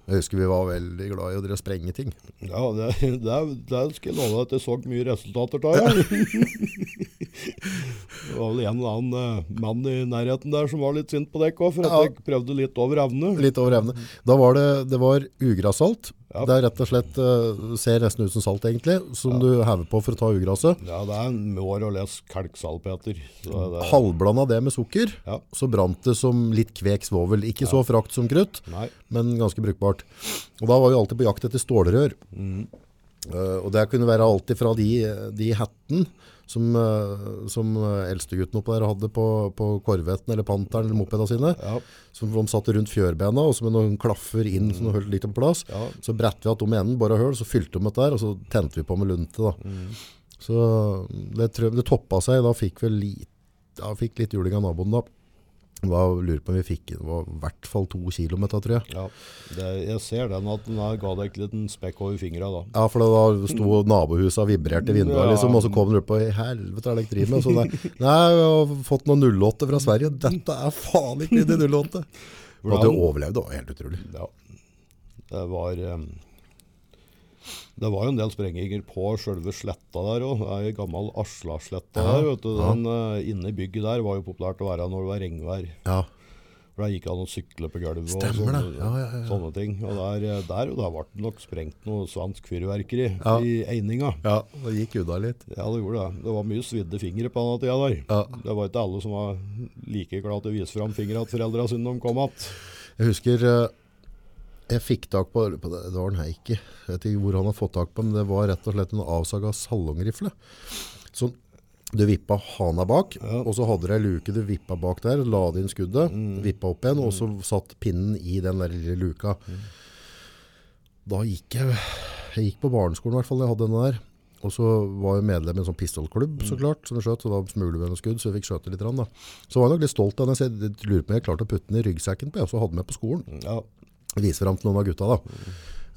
[SPEAKER 2] Jeg husker vi var veldig glad i å drive og sprenge ting.
[SPEAKER 1] Ja, det, det, det skal jeg love deg at jeg så mye resultater av. Ja. Det var vel en eller annen eh, mann i nærheten der som var litt sint på dekk òg, for at
[SPEAKER 2] Ja.
[SPEAKER 1] jeg prøvde litt over evne.
[SPEAKER 2] Litt over evne. Da var det, det var ugrassalt.
[SPEAKER 1] Ja.
[SPEAKER 2] Det er rett og slett, eh, ser nesten ut som salt egentlig, som du hever på for å ta ugraset.
[SPEAKER 1] Ja, det er en år å lese kalksalpeter. Så det,
[SPEAKER 2] Halvblanda det med sukker,
[SPEAKER 1] Ja.
[SPEAKER 2] så brant det som litt kvek svovel. Ikke så frakt som krutt,
[SPEAKER 1] nei.
[SPEAKER 2] men ganske brukbart. Og da var vi alltid på jakt etter stålrør. Eh, og det kunne være alltid fra de, de hetten som, eh, som eh, eldstegutten oppe der hadde på, på korvetten eller panteren eller mopeda sine,
[SPEAKER 1] Ja,
[SPEAKER 2] som de satt rundt fjørbena, og så med noen klaffer inn som de holdt litt på plass.
[SPEAKER 1] Ja.
[SPEAKER 2] Så brettet vi at om enden bare høl, så fylte de dette der, og så tente vi på med lunte. Da. Så det, tror jeg- det toppa seg, da fikk vi litt, ja, fikk litt juling av naboen da. Da lurer jeg på om vi fikk, det var i hvert fall to kilo med dette, tror jeg.
[SPEAKER 1] ja. Det, jeg ser den at den her ga deg en liten spekk over fingra da.
[SPEAKER 2] Ja, for da sto nabohuset og vibrerte i vinduet,
[SPEAKER 1] Ja.
[SPEAKER 2] liksom, og så kom den opp på, i helvete er det ikke driv med? Så det, nei, vi har fått noen 08 fra Sverige, dette er faen ikke de 08. Og at du overlevde, det var helt utrolig.
[SPEAKER 1] Ja. Det var em, Det var jo en del sprenginger på sjølve sletta der òg. Det er ei gammel Aslasletta
[SPEAKER 2] Ja,
[SPEAKER 1] der. vet du.
[SPEAKER 2] ja.
[SPEAKER 1] Den eh, Inne i bygget der var jo populært å være når det var regnvær.
[SPEAKER 2] Ja,
[SPEAKER 1] For Der gikk det an å sykle på gulvet og
[SPEAKER 2] Stemmer
[SPEAKER 1] sånne,
[SPEAKER 2] det. Ja, ja, ja, ja.
[SPEAKER 1] sånne ting. Og der, eh, der, jo, der ble det nok sprengt noe svensk fyrverkeri
[SPEAKER 2] Ja.
[SPEAKER 1] i eininga.
[SPEAKER 2] ja det gikk unna litt.
[SPEAKER 1] Ja, det gjorde det. Det var mye svidde fingre på den tida der.
[SPEAKER 2] Ja.
[SPEAKER 1] Det var ikke alle som var like glad til å vise fram fingra til foreldra sine når de kom igjen.
[SPEAKER 2] Jeg husker eh, jeg fikk tak på, på det, det var den her ikke. Jeg vet ikke hvor han har fått tak på, men det var rett og slett en avsaga salongrifle. Sånn, du vippa hana bak,
[SPEAKER 1] Ja.
[SPEAKER 2] og så hadde du ei luke du vippa bak der, la det inn skuddet, vippa opp igjen, og så satt pinnen i den der lille luka. Da gikk jeg, jeg gikk på barneskolen i hvert fall, jeg hadde den der. Og så var jeg medlem i en sånn pistolklubb, så klart, som jeg skjøt, så da smuglet vi noen skudd, så jeg fikk skjøte litt rann, da. Så var jeg nok litt stolt av den, så jeg lurer på om jeg klarte å putte den i ryggsekken på, jeg også hadde den med på skolen
[SPEAKER 1] Ja.
[SPEAKER 2] vise frem til noen av gutta da.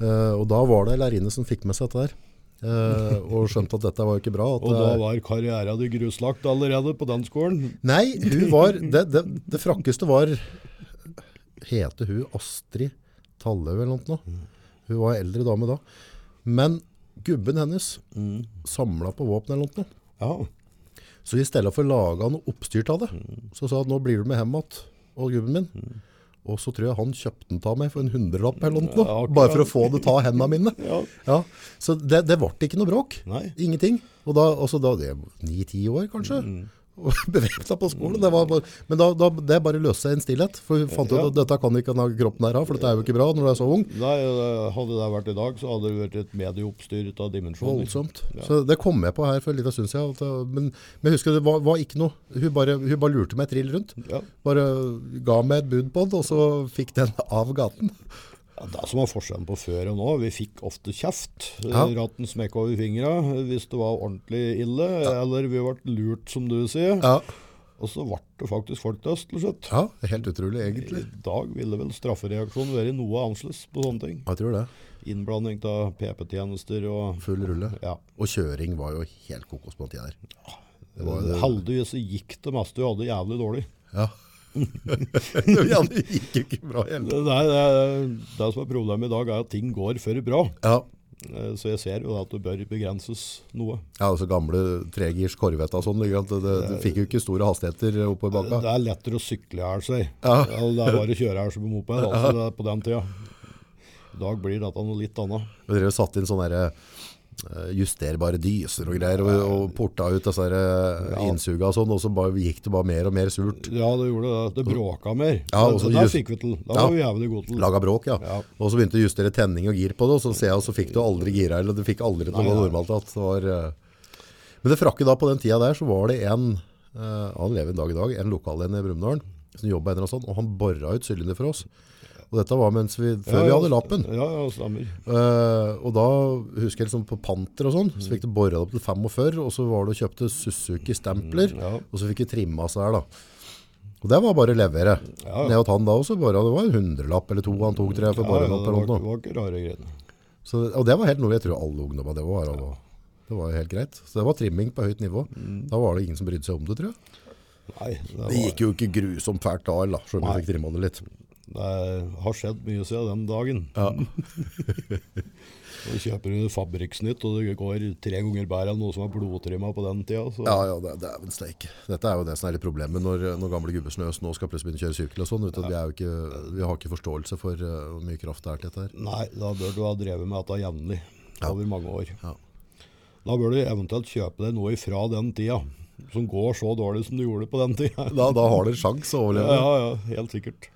[SPEAKER 2] Eh, og da var det en lærerinne som fikk med seg dette der. eh, og skjønte at dette var jo ikke bra. At,
[SPEAKER 1] Og da
[SPEAKER 2] det-
[SPEAKER 1] var karriera di gruslagt allerede på den skolen.
[SPEAKER 2] Nei, hun var, det, det, det frakkeste var, heter hun Astrid Talløv eller noe sånt nå? Hun var en eldre dame da. Men gubben hennes samlet på våpen eller noe sånt nå.
[SPEAKER 1] Ja.
[SPEAKER 2] Så i stedet for å lage noe oppstyrt av det, så sa han nå blir du med hjem igjen, og gubben min. Og så tror jeg han kjøpte den av meg for en hundrelapp eller noe,
[SPEAKER 1] Ja, akkurat.
[SPEAKER 2] bare for å få det ta hendene mine.
[SPEAKER 1] Ja.
[SPEAKER 2] Ja, så det, det ble ikke noe bråk.
[SPEAKER 1] Nei.
[SPEAKER 2] Ingenting. Og da, altså da det ni-ti år kanskje,
[SPEAKER 1] Mm.
[SPEAKER 2] og bevepta på skolen. Det var bare, men da, da, det bare løste seg i en stillhet, for hun fant ut
[SPEAKER 1] Ja.
[SPEAKER 2] at dette kan ikke denne kroppen her ha, for dette er jo ikke bra når du er så ung.
[SPEAKER 1] Nei, det- hadde det vært i dag, så hadde det vært et medieoppstyr ut av dimensjoner.
[SPEAKER 2] Voldsomt.
[SPEAKER 1] Ja.
[SPEAKER 2] Så det kom jeg på her for en liten stund siden. at, uh, Men, men jeg husker det var, var ikke noe. Hun bare, hun bare lurte meg et trill rundt.
[SPEAKER 1] Ja.
[SPEAKER 2] Bare ga meg et bud på det, og så fikk den av gaten.
[SPEAKER 1] Ja, det som var forskjellen på før og nå, vi fikk ofte kjeft. eh,
[SPEAKER 2] Ja.
[SPEAKER 1] Ratten smekk over fingra eh, hvis det var ordentlig ille, eller vi ble lurt, som du sier.
[SPEAKER 2] Ja,
[SPEAKER 1] Og så ble det faktisk folk til øst til slutt.
[SPEAKER 2] ja helt utrolig
[SPEAKER 1] I
[SPEAKER 2] egentlig.
[SPEAKER 1] dag ville vel straffereaksjonen være noe annerledes på sånne ting.
[SPEAKER 2] Jeg tror det.
[SPEAKER 1] Innblanding av PP-tjenester og
[SPEAKER 2] Full rulle.
[SPEAKER 1] ja.
[SPEAKER 2] Og kjøring var jo helt kokos på den tida der. Det var det.
[SPEAKER 1] Heldigvis så gikk det meste vi hadde jævlig dårlig.
[SPEAKER 2] Ja. ja, det gikk jo ikke bra heller.
[SPEAKER 1] Det, det, det, det som er problemet i dag, er at ting går for bra.
[SPEAKER 2] Ja.
[SPEAKER 1] Eh, Så jeg ser jo da at det bør begrenses noe.
[SPEAKER 2] Ja, altså gamle tregirs korvetta og sånn, ikke sant? det, du fikk jo ikke store hastigheter oppe i bakka.
[SPEAKER 1] Det er lettere å sykle i hjel seg.
[SPEAKER 2] Ja.
[SPEAKER 1] Eller Det er bare å kjøre her som på moped altså det er på den tida. I dag blir dette noe litt annet.
[SPEAKER 2] Og dere satt inn sånne der, eh, justerbare dyser og greier, og, og porta ut disse der, eh, innsuga og sånn, og så bare, gikk det bare mer og mer surt.
[SPEAKER 1] Ja, det gjorde det. Det bråka mer.
[SPEAKER 2] Ja, og
[SPEAKER 1] det,
[SPEAKER 2] så
[SPEAKER 1] det
[SPEAKER 2] just-
[SPEAKER 1] fikk vi til. Da
[SPEAKER 2] Ja.
[SPEAKER 1] var vi jævlig gode til.
[SPEAKER 2] Laga Mm. bråk, ja.
[SPEAKER 1] Ja.
[SPEAKER 2] Og så begynte du å justere tenning og gir på det, og så, ser jeg, og så fikk du aldri gira, eller du fikk aldri til å
[SPEAKER 1] Nei,
[SPEAKER 2] gå
[SPEAKER 1] nei.
[SPEAKER 2] normalt. At det var, eh. Men det frakke da, på den tida der, så var det en, eh, han lever en dag i dag, en lokal en i Brumunddal, som jobba en eller annen sånn, og han bora ut sylinder for oss. Og dette var mens vi, før vi hadde lappen.
[SPEAKER 1] Ja, ja, stemmer.
[SPEAKER 2] Eh, og da husker jeg liksom på panter og sånn, så fikk du borret opp til 45, og så var det og kjøpte Suzuki-stempler,
[SPEAKER 1] Mm, ja.
[SPEAKER 2] og så fikk du trimma seg her da. Og det var bare å levere.
[SPEAKER 1] Ja, ja.
[SPEAKER 2] Ned til han da også, bare, det var en hundrelapp eller to han tok, tror jeg, for
[SPEAKER 1] Ja,
[SPEAKER 2] borret
[SPEAKER 1] ja,
[SPEAKER 2] opp
[SPEAKER 1] det
[SPEAKER 2] eller
[SPEAKER 1] var,
[SPEAKER 2] noe.
[SPEAKER 1] det var ikke rare greiene.
[SPEAKER 2] Så, og det var helt noe jeg tror alle ungdommer det var. Og, Det var jo helt greit. Så det var trimming på høyt nivå. Da var det ingen som brydde seg om det, tror jeg.
[SPEAKER 1] Nei, Mm. det
[SPEAKER 2] Det
[SPEAKER 1] var,
[SPEAKER 2] gikk jo ikke grusomt fælt da, eller da, selv om jeg fikk trimma det litt.
[SPEAKER 1] Det er, har skjedd mye siden den dagen.
[SPEAKER 2] Ja.
[SPEAKER 1] Og Du kjøper du Fabrikksnytt, og det går tre ganger bedre enn noe som er blodtrimma på den tida. Så.
[SPEAKER 2] Ja, ja, det det er vel steik. Dette er jo det som er litt problemet når, når gamle gubber som oss nå skal plutselig begynne å kjøre sykkel og sånn. vet du, at Vi, er jo ikke, vi har ikke forståelse for eh, hvor mye kraft det er til dette her.
[SPEAKER 1] Nei, da bør du ha drevet med dette jevnlig over mange år.
[SPEAKER 2] Ja.
[SPEAKER 1] Da bør du eventuelt kjøpe deg noe ifra den tida, som går så dårlig som du gjorde på den tida.
[SPEAKER 2] Da, da har dere sjanse
[SPEAKER 1] Ja,
[SPEAKER 2] å overleve.
[SPEAKER 1] ja, ja helt sikkert.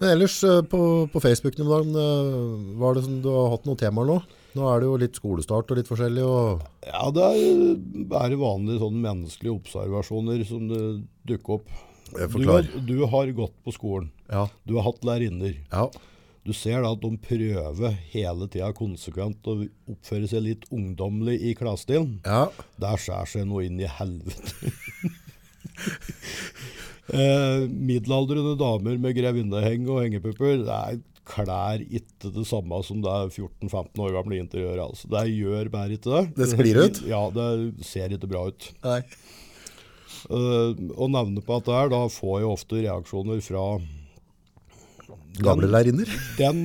[SPEAKER 2] Men ellers eh, på, på Facebook om dagen, eh, hva er det som du har hatt noen temaer nå? Nå er det jo litt skolestart og litt forskjellig. Og,
[SPEAKER 1] Ja, det er bare vanlige sånne menneskelige observasjoner som det dukker opp.
[SPEAKER 2] Jeg
[SPEAKER 1] Du,
[SPEAKER 2] forklarer.
[SPEAKER 1] har- du har gått på skolen.
[SPEAKER 2] ja,
[SPEAKER 1] Du har hatt lærerinner.
[SPEAKER 2] ja,
[SPEAKER 1] Du ser da at de prøver hele tida konsekvent å oppføre seg litt ungdommelig i klassestilen.
[SPEAKER 2] ja.
[SPEAKER 1] Der skjærer seg noe inn i helvete. eh, middelaldrende damer med grevinneheng og hengepupper det er klær ikke det samme som det er 14-15 år gamle interiøret. Altså. Det gjør bare ikke det.
[SPEAKER 2] Det sklir ut?
[SPEAKER 1] Ja, det ser ikke bra ut.
[SPEAKER 2] Nei.
[SPEAKER 1] Eh, å nevne på at det her, da får jeg ofte reaksjoner fra
[SPEAKER 2] Gamle lærerinner?
[SPEAKER 1] den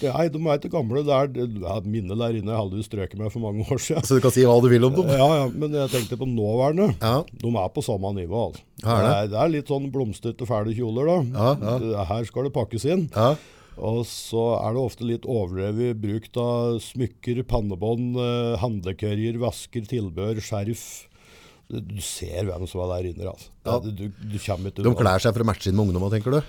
[SPEAKER 1] Nei, de er ikke gamle. Det er, ja, mine lærerinner har heldigvis strøket meg for mange år siden.
[SPEAKER 2] Så du kan si hva du vil om dem.
[SPEAKER 1] Ja, ja, men jeg tenkte på nåværende.
[SPEAKER 2] Ja,
[SPEAKER 1] De er på samme nivå. altså.
[SPEAKER 2] Ja, er det?
[SPEAKER 1] er, det er litt sånn blomstrete, fæle kjoler. da.
[SPEAKER 2] Ja, ja.
[SPEAKER 1] Det- Her skal det pakkes inn.
[SPEAKER 2] ja,
[SPEAKER 1] Og så er det ofte litt overdrevet bruk av smykker, pannebånd, eh, handlekørjer, vasker, tilbehør, skjerf. Du- Du ser hvem som er der inne. altså.
[SPEAKER 2] Ja.
[SPEAKER 1] Du, du, du kommer ikke
[SPEAKER 2] De
[SPEAKER 1] unna.
[SPEAKER 2] klær seg for å matche inn med ungdommer, tenker du?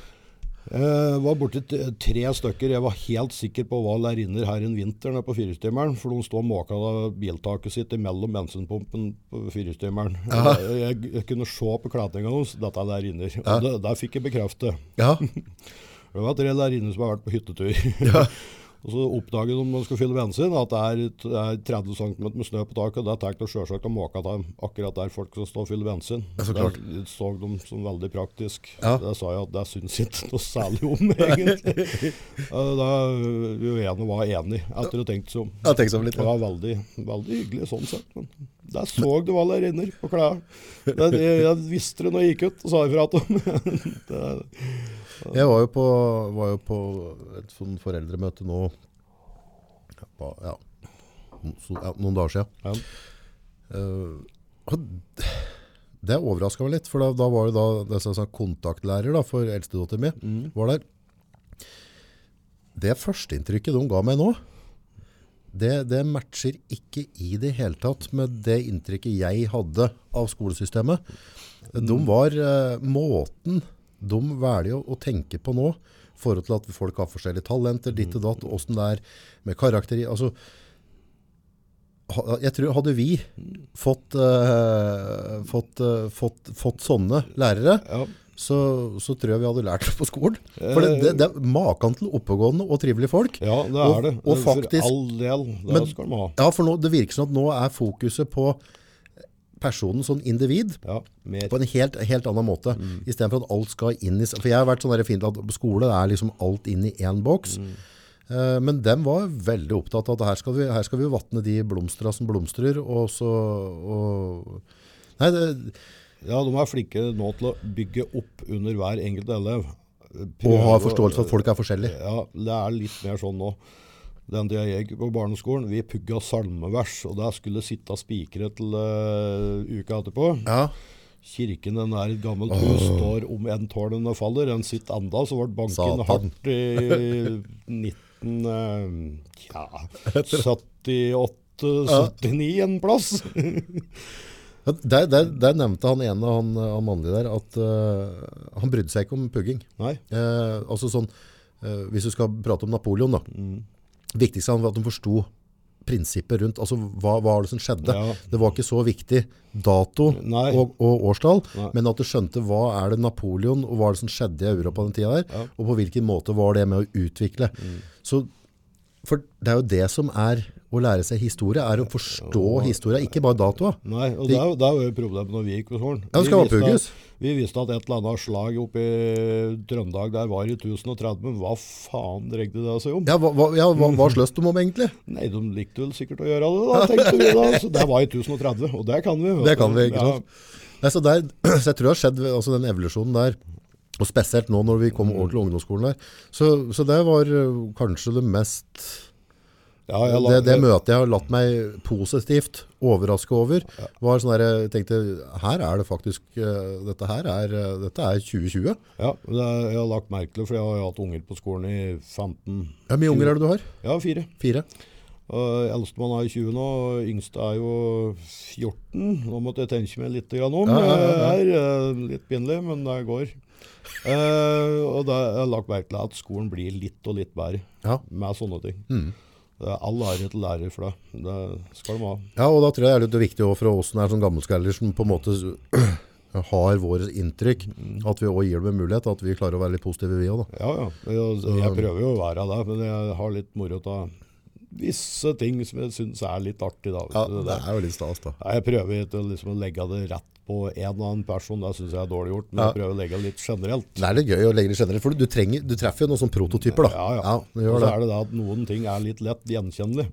[SPEAKER 1] Jeg Eh, var borti t- tre stykker. Jeg var helt sikker på hva lærerinner her en vinter nede på firestemmeren. For de står måka av biltaket sitt imellom bensinpumpen på firestemmeren. Jeg, jeg kunne se på kledninga deres. Dette er lærerinner. Og det, der fikk jeg bekreftet.
[SPEAKER 2] Ja,
[SPEAKER 1] Det var tre lærerinner som har vært på hyttetur. Og så oppdaget de når de skulle fylle bensin, at det er, et- det er 30 cm med snø på taket. og Det tenkte de sjølsagt å måke av akkurat der folk skal stå og fylle bensin.
[SPEAKER 2] Ja, så klart.
[SPEAKER 1] Det så de som veldig praktisk.
[SPEAKER 2] Ja.
[SPEAKER 1] Det sa jeg at det syns ikke noe særlig om, egentlig. Eh, da Uene var enig, etter å ha tenkt seg om.
[SPEAKER 2] jeg tenkte sånn litt.
[SPEAKER 1] Det var veldig, veldig hyggelig sånn sett. Men der så du hva der inne på klærne. Jeg, jeg visste det når jeg gikk ut og sa ifra til dem. Det er-
[SPEAKER 2] Jeg var jo på, var jo på et sånn foreldremøte nå ja, på, ja, så, ja, noen dager siden.
[SPEAKER 1] Ja.
[SPEAKER 2] Eh, og d- det overraska meg litt, for da, da var jo da det som sa kontaktlærer da, for eldstedattera mi var der. Det førsteinntrykket de ga meg nå, det, det matcher ikke i det hele tatt med det inntrykket jeg hadde av skolesystemet. De var eh, måten de velger å, å tenke på nå, i forhold til at folk har forskjellige talenter, ditt og datt, åssen det er med karakter i altså, ha- jeg tror Hadde vi fått, eh, fått, eh, fått, fått sånne lærere,
[SPEAKER 1] Ja.
[SPEAKER 2] så, så tror jeg vi hadde lært det på skolen. For det, det, det er maken til oppegående og trivelige folk.
[SPEAKER 1] Ja, det
[SPEAKER 2] Og-
[SPEAKER 1] er det.
[SPEAKER 2] og
[SPEAKER 1] For
[SPEAKER 2] faktisk-
[SPEAKER 1] all del, det
[SPEAKER 2] Men-
[SPEAKER 1] skal de ha.
[SPEAKER 2] Ja, for nå, det virker som at nå er fokuset på personen som individ
[SPEAKER 1] Ja, mer.
[SPEAKER 2] på en helt, helt annen måte, i stedet for at alt skal inn i... s- For jeg har vært sånn der fint at på skole er liksom alt inn i en boks, Eh, men dem var veldig opptatt av at her skal vi, her skal vi vattne de blomstra som blomstrer, og så... Og, nei, det,
[SPEAKER 1] Ja, de er flinke nå til å bygge opp under hver enkelt elev.
[SPEAKER 2] og ha
[SPEAKER 1] Prøve å-
[SPEAKER 2] forståelse for at folk er forskjellige.
[SPEAKER 1] Ja, det er litt mer sånn nå. Den tida jeg gikk på barneskolen, vi pugga salmevers, og der skulle sitte spikere til eh, uka etterpå.
[SPEAKER 2] Ja,
[SPEAKER 1] Kirken den er et gammelt hus, står om en tårn den faller. Den sitter enda, så ble banken
[SPEAKER 2] Satan.
[SPEAKER 1] hardt i 19... eh, Tja, 78, 79 en plass.
[SPEAKER 2] Ja, Der, der, der nevnte han ene, han, han mannlige der, at eh, han brydde seg ikke om pugging.
[SPEAKER 1] Nei,
[SPEAKER 2] Eh, altså sånn, eh, hvis du skal prate om Napoleon da,
[SPEAKER 1] Mm.
[SPEAKER 2] viktigst var at de forsto prinsippet rundt, altså hva, hva var det som skjedde?
[SPEAKER 1] Ja.
[SPEAKER 2] Det var ikke så viktig dato
[SPEAKER 1] Nei.
[SPEAKER 2] og, og årstall,
[SPEAKER 1] Nei.
[SPEAKER 2] men at du skjønte hva er det Napoleon, og hva er det som skjedde i Europa den tiden der,
[SPEAKER 1] Ja. Mm.
[SPEAKER 2] og på hvilken måte var det med å utvikle. Så, for det er jo det som er å lære seg historie, er å forstå historie, ikke bare datoa.
[SPEAKER 1] nei, og det, er jo- det er jo problemet når vi gikk på skolen.
[SPEAKER 2] Ja, det
[SPEAKER 1] Vi
[SPEAKER 2] skal være
[SPEAKER 1] visste at-
[SPEAKER 2] pugges.
[SPEAKER 1] Vi visste at et eller annet slag oppe i Trøndelag der var i 1030, men hva faen dreide det seg om?
[SPEAKER 2] Ja, hva, hva, ja, hva, hva sløs de om egentlig?
[SPEAKER 1] Nei, de likte vel sikkert å gjøre det, da, tenkte vi da. Så det var i 1030, og det kan vi. vet
[SPEAKER 2] Det kan
[SPEAKER 1] du.
[SPEAKER 2] vi, ikke
[SPEAKER 1] Ja.
[SPEAKER 2] sant? Nei, så, der, så jeg tror det har skjedd altså den evolusjonen der Og spesielt nå når vi kom over til ungdomsskolen der. Så, så det var eh, kanskje det mest
[SPEAKER 1] Ja, jeg la-
[SPEAKER 2] det, det møtet jeg har latt meg positivt overraske over, var sånn der jeg tenkte Her er det faktisk eh, Dette her er, eh, dette er 2020.
[SPEAKER 1] Ja, men det, er- jeg har lagt merke til det, for jeg har jo hatt unger på skolen i 15
[SPEAKER 2] Hvor mye unger er det du har?
[SPEAKER 1] Ja, fire.
[SPEAKER 2] Fire?
[SPEAKER 1] Og Eldstemann er 20 nå, og yngste er jo 14. Nå måtte jeg tenke meg litt grann om.
[SPEAKER 2] Ja, ja,
[SPEAKER 1] Det
[SPEAKER 2] ja,
[SPEAKER 1] er eh, litt pinlig, men det går. Eh, og det jeg har lagt merke til at skolen blir litt og litt bedre
[SPEAKER 2] Ja.
[SPEAKER 1] med sånne ting.
[SPEAKER 2] Mm.
[SPEAKER 1] Det er all ære til lærer for det. Det skal de ha.
[SPEAKER 2] ja, og da tror jeg det er litt viktig også for oss som er sånn gammelskaller som på en måte har våre inntrykk, at vi også gir dem en mulighet, at vi klarer å være litt positive vi òg, da.
[SPEAKER 1] Ja, ja. Jeg, jeg prøver jo å være det, men jeg har litt moro av visse ting som jeg syns er litt artig. Da, vet du, det der.
[SPEAKER 2] er jo litt stas, da.
[SPEAKER 1] Ja, altså. Jeg prøver ikke å liksom å legge det rett på en eller annen person, det syns jeg er dårlig gjort. Men
[SPEAKER 2] Ja.
[SPEAKER 1] jeg prøver å legge det litt generelt.
[SPEAKER 2] Det er litt gøy å legge det generelt, for du, trenger, du treffer jo noen sånne prototyper, da.
[SPEAKER 1] Ja, ja.
[SPEAKER 2] du
[SPEAKER 1] Og
[SPEAKER 2] gjør
[SPEAKER 1] så
[SPEAKER 2] det.
[SPEAKER 1] er det det at noen ting er litt lett gjenkjennelig.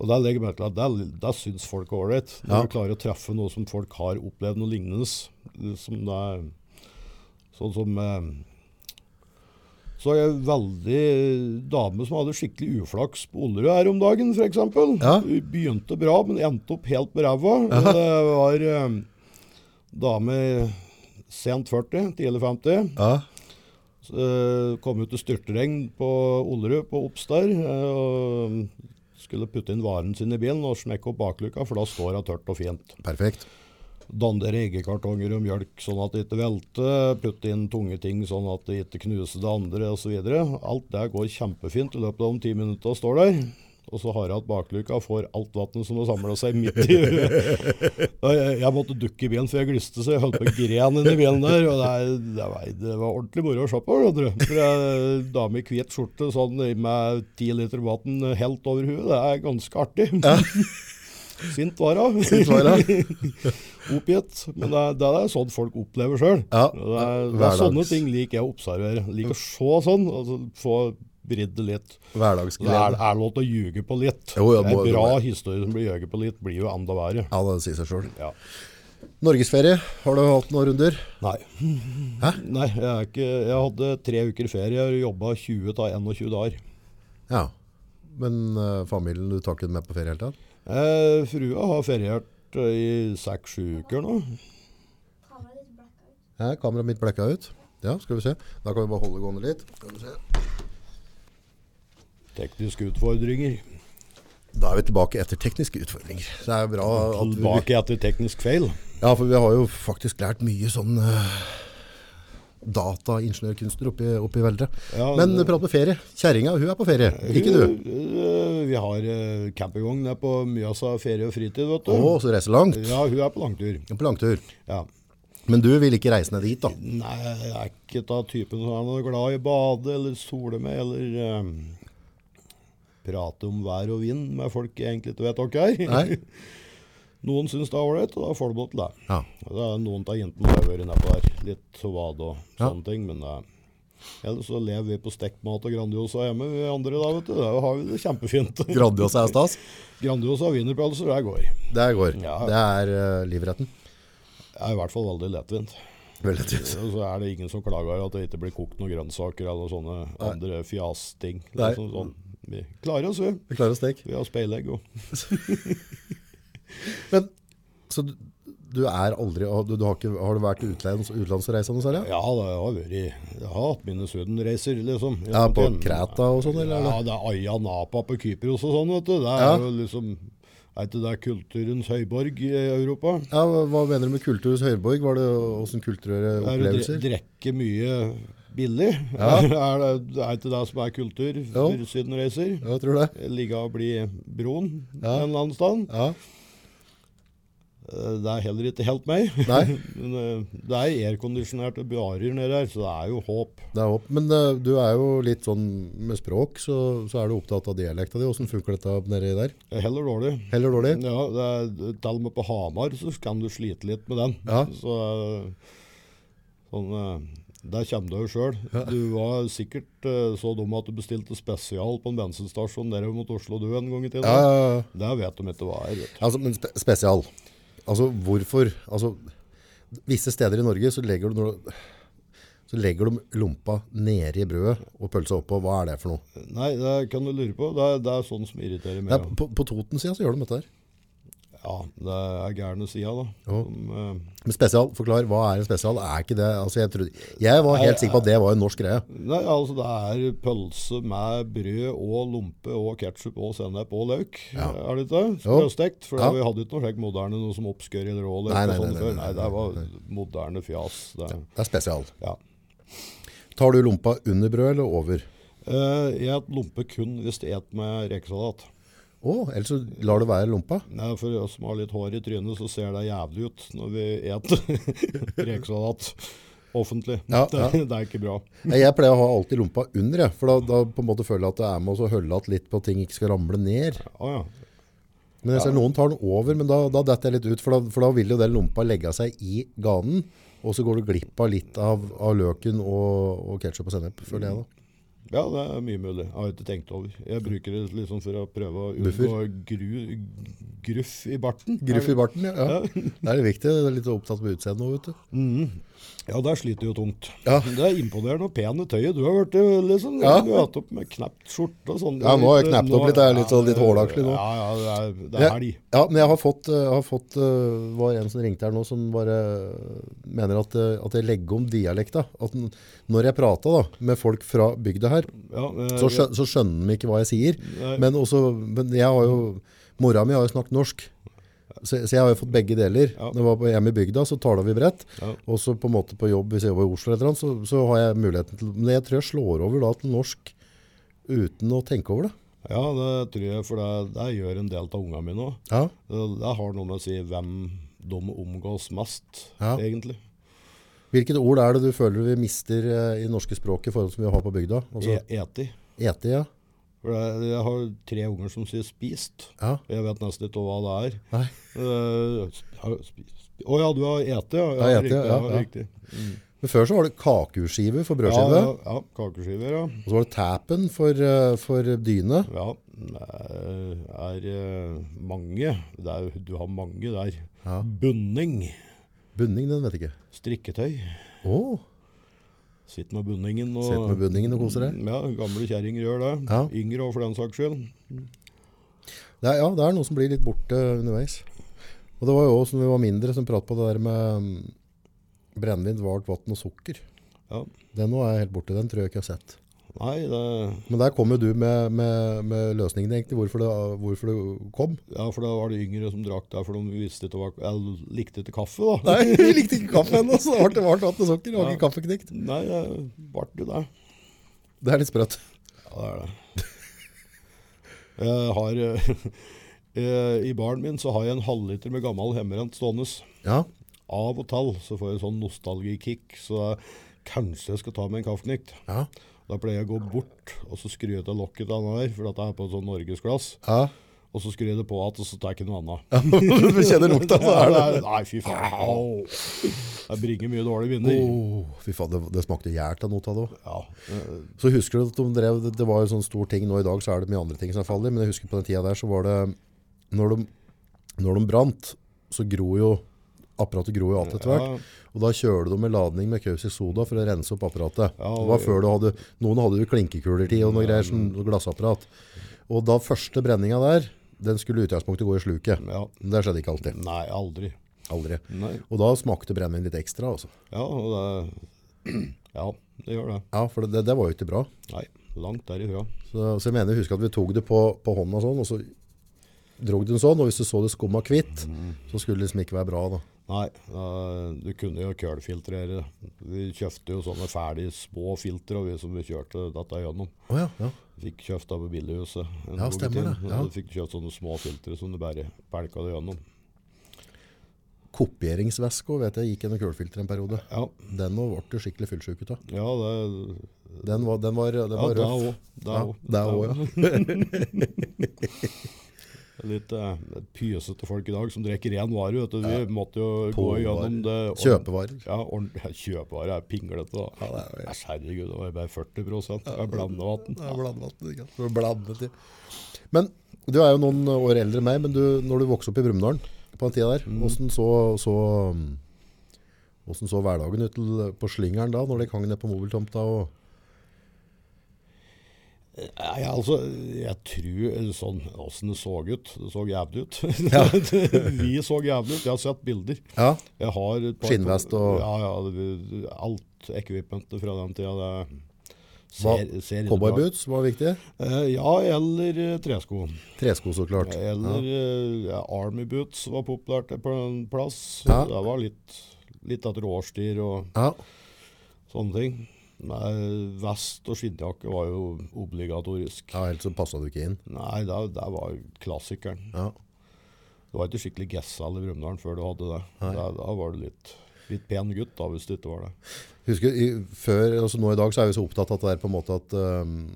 [SPEAKER 1] Og der legger jeg merke til at der, der syns folk er ålreit. Når
[SPEAKER 2] Ja.
[SPEAKER 1] du klarer å treffe noe som folk har opplevd noe lignende. Som det er, sånn som eh, Så er jeg veldig eh, dame som hadde skikkelig uflaks på Ollerud her om dagen, f.eks.
[SPEAKER 2] Ja.
[SPEAKER 1] Begynte bra, men endte opp helt på ræva. Og Det var eh, dame sent 40, tidlig 50.
[SPEAKER 2] Ja.
[SPEAKER 1] Så, eh, kom ut til styrtregn på Olerud på Ops der. eh, og skulle putte inn varen sin i bilen og smekke opp bakluka, for da står det tørt og fint.
[SPEAKER 2] Perfekt.
[SPEAKER 1] Dandere eggekartonger og mjølk sånn at det ikke velter. Putte inn tunge ting sånn at det ikke knuser det andre osv. Alt det går kjempefint. I løpet av de ti minuttene står der. Og så har jeg hatt bakluka får alt vannet som har samla seg midt i Og jeg, jeg måtte dukke i bilen, for jeg gliste så jeg holdt på å gren inni bilen der. Og det, er, det, var, det var ordentlig moro å se på. skjønner du. For ei dame i hvit skjorte sånn med ti liter vann helt over huet, det er ganske artig. Sint var hun. Oppgitt. Men det, er- det er sånn folk opplever sjøl.
[SPEAKER 2] Ja,
[SPEAKER 1] Det, er- det er
[SPEAKER 2] hverdags-
[SPEAKER 1] sånne ting liker jeg å observere. Liker å se sånn, og så få vridd det litt. Så Det er,
[SPEAKER 2] Hverdagsglede.
[SPEAKER 1] er lov til å ljuge på litt.
[SPEAKER 2] Jo, ja, må-
[SPEAKER 1] en bra historie som blir ljuget på litt, blir jo enda verre.
[SPEAKER 2] Ja, det sier seg sjøl.
[SPEAKER 1] Ja.
[SPEAKER 2] Norgesferie, har du hatt noen runder?
[SPEAKER 1] Nei.
[SPEAKER 2] Hæ?
[SPEAKER 1] Nei, jeg, er ikke, jeg hadde tre uker ferie og jobba 20 av 21 dager.
[SPEAKER 2] Ja. Men eh, familien, du tar ikke den med på ferie hele tatt?
[SPEAKER 1] Eh, frua har feriert eh, i seks-sju uker nå.
[SPEAKER 3] Kameraet ditt blacka ut.
[SPEAKER 2] Ja, kameraet mitt blekka ut. Ja, skal vi se. Da kan vi bare holde gående litt. Skal vi se.
[SPEAKER 1] Tekniske utfordringer.
[SPEAKER 2] Da er vi tilbake etter tekniske utfordringer. Det er bra at vi,
[SPEAKER 1] Tilbake etter teknisk feil.
[SPEAKER 2] Ja, for vi har jo faktisk lært mye sånn eh, dataingeniørkunstner oppi, oppi Veldre.
[SPEAKER 1] Ja,
[SPEAKER 2] Men
[SPEAKER 1] det-
[SPEAKER 2] prat med ferie. Kjerringa, hun er på ferie. Ikke du?
[SPEAKER 1] Eh, Vi har eh, campingvogn der på Mjøsa ferie og fritid, vet du.
[SPEAKER 2] Å, så reiser langt.
[SPEAKER 1] Ja, hun er på langtur.
[SPEAKER 2] På langtur.
[SPEAKER 1] Ja.
[SPEAKER 2] Men du vil ikke reise ned dit, da?
[SPEAKER 1] Nei, jeg er ikke av typen som er noe glad i å bade eller sole med, eller eh, prate om vær og vind med folk jeg egentlig ikke vet hva er.
[SPEAKER 2] Nei?
[SPEAKER 1] Noen syns det er ålreit, og da får du lov til det.
[SPEAKER 2] Ja.
[SPEAKER 1] Og Det er noen av jentene som har vært nedpå der. Litt vade og
[SPEAKER 2] Ja.
[SPEAKER 1] sånne ting, men eh, Ellers så lever vi på stekt mat og Grandiosa hjemme, vi andre da, vet du. Da har vi det kjempefint.
[SPEAKER 2] Grandiosa er stas.
[SPEAKER 1] Grandiosa wienerpølser, det går.
[SPEAKER 2] Det går.
[SPEAKER 1] Ja.
[SPEAKER 2] Det er eh, livretten.
[SPEAKER 1] Det er i hvert fall veldig lettvint.
[SPEAKER 2] Veldig tydelig.
[SPEAKER 1] Og så er det ingen som klager at det ikke blir kokt noen grønnsaker eller sånne andre fjasting.
[SPEAKER 2] Nei.
[SPEAKER 1] Liksom sånn. Vi klarer oss, vi.
[SPEAKER 2] Vi klarer å steke.
[SPEAKER 1] Vi har speilegg og
[SPEAKER 2] Men, så du, du er aldri, og du, du har, ikke, har du vært utlands, utenlandsreisende særlig?
[SPEAKER 1] Ja, det har vært Jeg har hatt mine Syden-reiser, liksom. i
[SPEAKER 2] Ja, på
[SPEAKER 1] samtiden.
[SPEAKER 2] Kreta og sånn, eller?
[SPEAKER 1] Ja, det er Aya Napa på Kypros og sånn, vet du. Det er
[SPEAKER 2] Ja.
[SPEAKER 1] jo liksom Er ikke det kulturens høyborg i Europa?
[SPEAKER 2] Ja, hva- hva mener du med kulturhus Høyborg? Var det åssen
[SPEAKER 1] Det er
[SPEAKER 2] kulturelle
[SPEAKER 1] å dre-
[SPEAKER 2] opplevelser?
[SPEAKER 1] drekke mye billig.
[SPEAKER 2] Ja.
[SPEAKER 1] er det, det er ikke det som er kultur for
[SPEAKER 2] Jo.
[SPEAKER 1] Syden-reiser?
[SPEAKER 2] Ja, jeg tror det.
[SPEAKER 1] ligge og bli broen
[SPEAKER 2] Ja.
[SPEAKER 1] en eller annen sted.
[SPEAKER 2] Ja,
[SPEAKER 1] Eh, Det er heller ikke helt meg.
[SPEAKER 2] Nei.
[SPEAKER 1] Men eh, det er airconditionerte barer nede her, så det er jo håp.
[SPEAKER 2] det er håp. Men eh, du er jo litt sånn med språk, så, så er du opptatt av dialekta di. Åssen funker dette nedi der?
[SPEAKER 1] Heller dårlig.
[SPEAKER 2] Heller dårlig?
[SPEAKER 1] Ja, det er, til og med på Hamar så kan du slite litt med den.
[SPEAKER 2] Ja.
[SPEAKER 1] Så, eh, sånn, eh, der kommer du jo sjøl. Du var sikkert eh, så dum at du bestilte spesial på en bensinstasjon nede mot Oslo du en gang i tida.
[SPEAKER 2] Ja, ja, ja.
[SPEAKER 1] Det vet de ikke hva er. Vet du.
[SPEAKER 2] Altså, men spe spesial. Altså, hvorfor? Altså, visse steder i Norge så legger du når du Så legger de lompa nede i brødet og pølsa oppå. Hva er det for noe?
[SPEAKER 1] Nei, det kan du lure på. Det er, det er sånn som irriterer
[SPEAKER 2] Det
[SPEAKER 1] meg.
[SPEAKER 2] er, på, på Toten-sida så gjør de dette her.
[SPEAKER 1] Ja, det er gærne sida, da.
[SPEAKER 2] Ja.
[SPEAKER 1] Som, eh,
[SPEAKER 2] Men spesial, forklar, hva er en spesial? Er ikke det, altså jeg, trodde, jeg var
[SPEAKER 1] Nei,
[SPEAKER 2] helt sikker på at det var en norsk greie.
[SPEAKER 1] nei, altså det er pølse med brød og lompe og ketsjup og sennep og løk. Er det ikke det?
[SPEAKER 2] Jo.
[SPEAKER 1] Sprøstekt. For
[SPEAKER 2] Ja.
[SPEAKER 1] vi hadde ikke noe slik moderne, noe som oppskør eller rå løk
[SPEAKER 2] Nei,
[SPEAKER 1] og
[SPEAKER 2] nei,
[SPEAKER 1] sånn
[SPEAKER 2] nei,
[SPEAKER 1] før.
[SPEAKER 2] nei,
[SPEAKER 1] Nei,
[SPEAKER 2] nei,
[SPEAKER 1] det var moderne fjas. Det,
[SPEAKER 2] Det er spesial.
[SPEAKER 1] ja.
[SPEAKER 2] Tar du lompa under brød eller over?
[SPEAKER 1] Eh, jeg et lompe kun hvis jeg et med rekesalat.
[SPEAKER 2] Å, ellers så lar du være lompa.
[SPEAKER 1] Nei, for oss som har litt hår i trynet, så ser det jævlig ut når vi et rekesalat offentlig.
[SPEAKER 2] Ja,
[SPEAKER 1] det,
[SPEAKER 2] ja.
[SPEAKER 1] det er ikke bra.
[SPEAKER 2] Nei, Jeg pleier å ha alltid lompa under, jeg, for da, da på en måte føler jeg at det er med å så hølle at litt på at ting ikke skal ramle ned.
[SPEAKER 1] Å ja.
[SPEAKER 2] Men jeg ser noen tar den over, men da, da detter jeg litt ut, for da, for da vil jo den lompa legge seg i ganen, og så går du glipp av litt av, av løken og, og ketchup og sennep, føler jeg da.
[SPEAKER 1] Ja, det er mye mulig. Jeg har ikke tenkt over. Jeg bruker det liksom for å prøve å
[SPEAKER 2] Buffer.
[SPEAKER 1] unngå gru, gruff i barten.
[SPEAKER 2] Gruff i barten, ja. ja. Det er litt viktig, jeg er litt opptatt med utseendet nå, vet du.
[SPEAKER 1] Ja, der sliter jo tungt.
[SPEAKER 2] Ja.
[SPEAKER 1] Men Det er imponerende og pene tøyet du har vært i, liksom.
[SPEAKER 2] Ja.
[SPEAKER 1] Du har hatt opp med knapt skjorte og sånn.
[SPEAKER 2] Ja, nå har jeg knapt opp litt. Det er litt sånn litt hårdaktig nå.
[SPEAKER 1] Ja, ja, det er, det er helg.
[SPEAKER 2] Ja, men jeg har fått, eh, har fått eh, var en som ringte her nå, som bare eh, mener at, eh, at jeg legger om dialekta. At n- når jeg prater da, med folk fra bygda her,
[SPEAKER 1] Ja, eh,
[SPEAKER 2] så, skjø så skjønner de ikke hva jeg sier.
[SPEAKER 1] Nei.
[SPEAKER 2] Men, også, men jeg har jo, mora mi har jo snakket norsk. Så, så jeg har jo fått begge deler.
[SPEAKER 1] Ja.
[SPEAKER 2] Når jeg var på- hjemme i bygda, så taler vi bredt.
[SPEAKER 1] Ja.
[SPEAKER 2] Og så på en måte på jobb, hvis jeg jobber i Oslo eller noe, så, så har jeg muligheten til Men jeg tror jeg slår over da til norsk uten å tenke over det.
[SPEAKER 1] ja, det tror jeg, for det, det gjør en del av ungene mine òg.
[SPEAKER 2] Ja,
[SPEAKER 1] Det har noe med å si hvem de omgås mest,
[SPEAKER 2] Ja.
[SPEAKER 1] egentlig.
[SPEAKER 2] Hvilket ord er det du føler vi mister eh, i det norske språket i forhold til som vi har på bygda? Altså,
[SPEAKER 1] E eti.
[SPEAKER 2] ete, ja.
[SPEAKER 1] For det, jeg har tre unger som sier 'spist'.
[SPEAKER 2] ja.
[SPEAKER 1] Jeg vet nesten ikke hva det er.
[SPEAKER 2] Nei.
[SPEAKER 1] Eh, sp- har- sp- sp- Å ja, du har ete, ja.
[SPEAKER 2] Ja, ete,
[SPEAKER 1] riktig,
[SPEAKER 2] ja, ja.
[SPEAKER 1] riktig.
[SPEAKER 2] Men før så var det kakeskive for
[SPEAKER 1] Ja,
[SPEAKER 2] brødskive,
[SPEAKER 1] ja, ja, kakeskiver, ja.
[SPEAKER 2] og så var det tapen for, eh, for dyne.
[SPEAKER 1] ja. Det er eh, mange. Det er, jo- du har mange der.
[SPEAKER 2] Ja.
[SPEAKER 1] Bunning.
[SPEAKER 2] Bunning, den vet jeg ikke.
[SPEAKER 1] Strikketøy.
[SPEAKER 2] Å,
[SPEAKER 1] Sitt med bunningen og
[SPEAKER 2] sett med bunningen og koser deg.
[SPEAKER 1] Ja, gamle kjerringer gjør det.
[SPEAKER 2] Ja.
[SPEAKER 1] Yngre òg, for den saks skyld.
[SPEAKER 2] Det er, ja, det er noe som blir litt borte underveis. Og det var jo også når vi var mindre som pratet på det der med mm, brennevin, vart, vatten og sukker.
[SPEAKER 1] Ja.
[SPEAKER 2] Den nå er helt borte, den tror jeg ikke jeg har sett.
[SPEAKER 1] Nei, det
[SPEAKER 2] Men der kom jo du med, med, med løsningen egentlig, hvorfor det, hvorfor det kom.
[SPEAKER 1] Ja, for da var det yngre som drakk der, for de visste ikke hva Eller likte ikke kaffe, da.
[SPEAKER 2] Nei, vi likte ikke kaffe ennå, så det ble vart, vatten og sukker. Det var ikke kaffeknekt.
[SPEAKER 1] Nei, det ble jo det.
[SPEAKER 2] Det er litt sprøtt.
[SPEAKER 1] Ja, det er det. Jeg har eh, I baren min så har jeg en halvliter med gammel hjemmerent stående.
[SPEAKER 2] Ja,
[SPEAKER 1] Av og til så får jeg sånn nostalgikick, så kanskje jeg skal ta meg en kaffeknikt.
[SPEAKER 2] ja,
[SPEAKER 1] Da pleier jeg å gå bort og så skru ut av lokket til den der, for dette er på et sånn norgesglass.
[SPEAKER 2] ja.
[SPEAKER 1] Og så skrur jeg det på igjen, og så tar jeg ikke noe annet.
[SPEAKER 2] Du kjenner lukta, så er det.
[SPEAKER 1] Nei, fy faen. Au. Det bringer mye dårlige vinner.
[SPEAKER 2] Åh, fy faen, det, det smakte gjært av noe av det også.
[SPEAKER 1] Ja, eh,
[SPEAKER 2] Så husker du at de drev, det, det var jo sånn stor ting nå i dag, så er det mye andre ting som er farlig, men jeg husker på den tida der så var det, når de, når de brant, så gror jo, apparatet gror jo alt etter hvert,
[SPEAKER 1] Ja.
[SPEAKER 2] og da kjører de med ladning med kausik soda for å rense opp apparatet.
[SPEAKER 1] Ja,
[SPEAKER 2] det var før du hadde, noen hadde jo klinkekuler til og noe greier, sånn glassapparat. Og da første brenninga der, den skulle i utgangspunktet gå i sluket.
[SPEAKER 1] ja.
[SPEAKER 2] Men det skjedde ikke alltid.
[SPEAKER 1] Nei, aldri.
[SPEAKER 2] Aldri.
[SPEAKER 1] Nei.
[SPEAKER 2] Og da smakte brennevin litt ekstra, altså.
[SPEAKER 1] Ja, og det, ja, det gjør det.
[SPEAKER 2] Ja, for det, det var jo ikke bra.
[SPEAKER 1] Nei, langt derifra.
[SPEAKER 2] Så, så jeg mener, jeg husker at vi tok det på, på hånda sånn, og så drog den sånn, og hvis du så det skumma kvitt, så skulle det liksom ikke være bra da.
[SPEAKER 1] Nei, eh, du kunne jo kølfiltrere. Vi kjøpte jo sånne ferdig små filtre, og vi som vi kjørte dette gjennom.
[SPEAKER 2] Åja, ja.
[SPEAKER 1] Fikk kjøpt av billighuset. en
[SPEAKER 2] Ja,
[SPEAKER 1] gang i
[SPEAKER 2] stemmer det,
[SPEAKER 1] tiden.
[SPEAKER 2] ja.
[SPEAKER 1] Du fikk kjøpt sånne små filtre som du bare pelka det gjennom.
[SPEAKER 2] Kopieringsvesko, vet jeg, gikk gjennom kulfilter en periode.
[SPEAKER 1] Ja,
[SPEAKER 2] Den nå ble du skikkelig fullsjuk ut av.
[SPEAKER 1] ja det
[SPEAKER 2] Den var, den var, den
[SPEAKER 1] ja,
[SPEAKER 2] var
[SPEAKER 1] det
[SPEAKER 2] røff.
[SPEAKER 1] òg. Det
[SPEAKER 2] Ja,
[SPEAKER 1] òg.
[SPEAKER 2] det er også, ja.
[SPEAKER 1] Litt eh, pysete folk i dag som drikker ren vare. vet du. Vi måtte jo gå
[SPEAKER 2] Påvarer.
[SPEAKER 1] gjennom det. ordent-
[SPEAKER 2] Kjøpevarer.
[SPEAKER 1] Ja, ordent- ja, kjøpevare er pinglete, da.
[SPEAKER 2] det
[SPEAKER 1] Æsj, herregud, det var jo bare 40 Det er blandevann.
[SPEAKER 2] Det er blandet, ikke sant? Det er blandet, ja. Men du er jo noen år eldre enn Mm. meg, men du, når du vokste opp i Brumdalen på den tida der, hvordan så, så, mm, Hvordan så hverdagen ut til- på slingeren da, når de hang ned på mobiltomta? Og,
[SPEAKER 1] Nei, altså, jeg tror sånn åssen det så ut. Det så jævlig ut. Vi så jævlig ut. Jeg har sett bilder.
[SPEAKER 2] ja,
[SPEAKER 1] Jeg har et par-
[SPEAKER 2] Skinnvest og-
[SPEAKER 1] Ja, ja. det- Alt ekvipentet fra den tida. Det
[SPEAKER 2] Hva-
[SPEAKER 1] ser, ser ille bra ut.
[SPEAKER 2] cowboyboots var viktig.
[SPEAKER 1] Eh, Ja, eller eh, tresko.
[SPEAKER 2] Tresko, så klart.
[SPEAKER 1] Eller eh, ja, Army boots var populært på en plass.
[SPEAKER 2] Ja.
[SPEAKER 1] Det var litt, litt etter årstider og
[SPEAKER 2] Ja,
[SPEAKER 1] sånne ting. Nei, vest og skinnjakke var jo obligatorisk.
[SPEAKER 2] ja helt så passet du ikke inn.
[SPEAKER 1] Nei, det, det var klassikeren.
[SPEAKER 2] Ja.
[SPEAKER 1] Det var ikke skikkelig gessal i Brumunddal før du hadde det. Da, da var du litt, litt pen gutt, da, hvis du ikke var det.
[SPEAKER 2] Husker, i, før, altså nå i dag så er vi så opptatt av at det er på en måte at, øhm,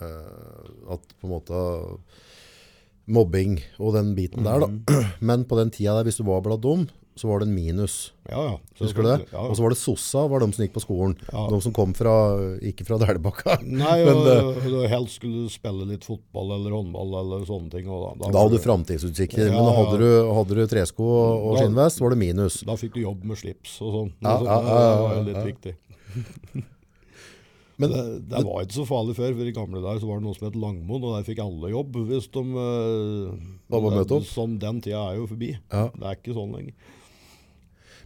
[SPEAKER 2] øh, at på en måte mobbing og den biten der da.
[SPEAKER 1] Mhm.
[SPEAKER 2] Men på den tida der, hvis du var blant dem, så var det en minus.
[SPEAKER 1] Ja, ja. Så-
[SPEAKER 2] Husker du det? Altså,
[SPEAKER 1] Ja,
[SPEAKER 2] Og så var det sossa, var de som gikk på skolen.
[SPEAKER 1] Ja.
[SPEAKER 2] De som kom fra, ikke fra Delbakka.
[SPEAKER 1] Nei,
[SPEAKER 2] Men,
[SPEAKER 1] og,
[SPEAKER 2] eh,
[SPEAKER 1] og du helst skulle du spille litt fotball eller håndball eller sånne ting. Og da,
[SPEAKER 2] Da
[SPEAKER 1] var
[SPEAKER 2] hadde du
[SPEAKER 1] Ja,
[SPEAKER 2] framtidsutsikter, men
[SPEAKER 1] ja.
[SPEAKER 2] hadde du, hadde du tresko og, og
[SPEAKER 1] Da-
[SPEAKER 2] skinnvest, var det minus.
[SPEAKER 1] da fikk du jobb med slips og sånn.
[SPEAKER 2] Ja,
[SPEAKER 1] Så
[SPEAKER 2] ja, ja, ja,
[SPEAKER 1] det var jo
[SPEAKER 2] ja.
[SPEAKER 1] litt viktig.
[SPEAKER 2] Men-
[SPEAKER 1] det, det var ikke så farlig før, for i gamle dager så var det noe som het Langmoen, og der fikk alle jobb hvis de eh,
[SPEAKER 2] Da var møte opp.
[SPEAKER 1] Sånn, den tida er jo forbi.
[SPEAKER 2] Ja.
[SPEAKER 1] Det er ikke sånn lenger.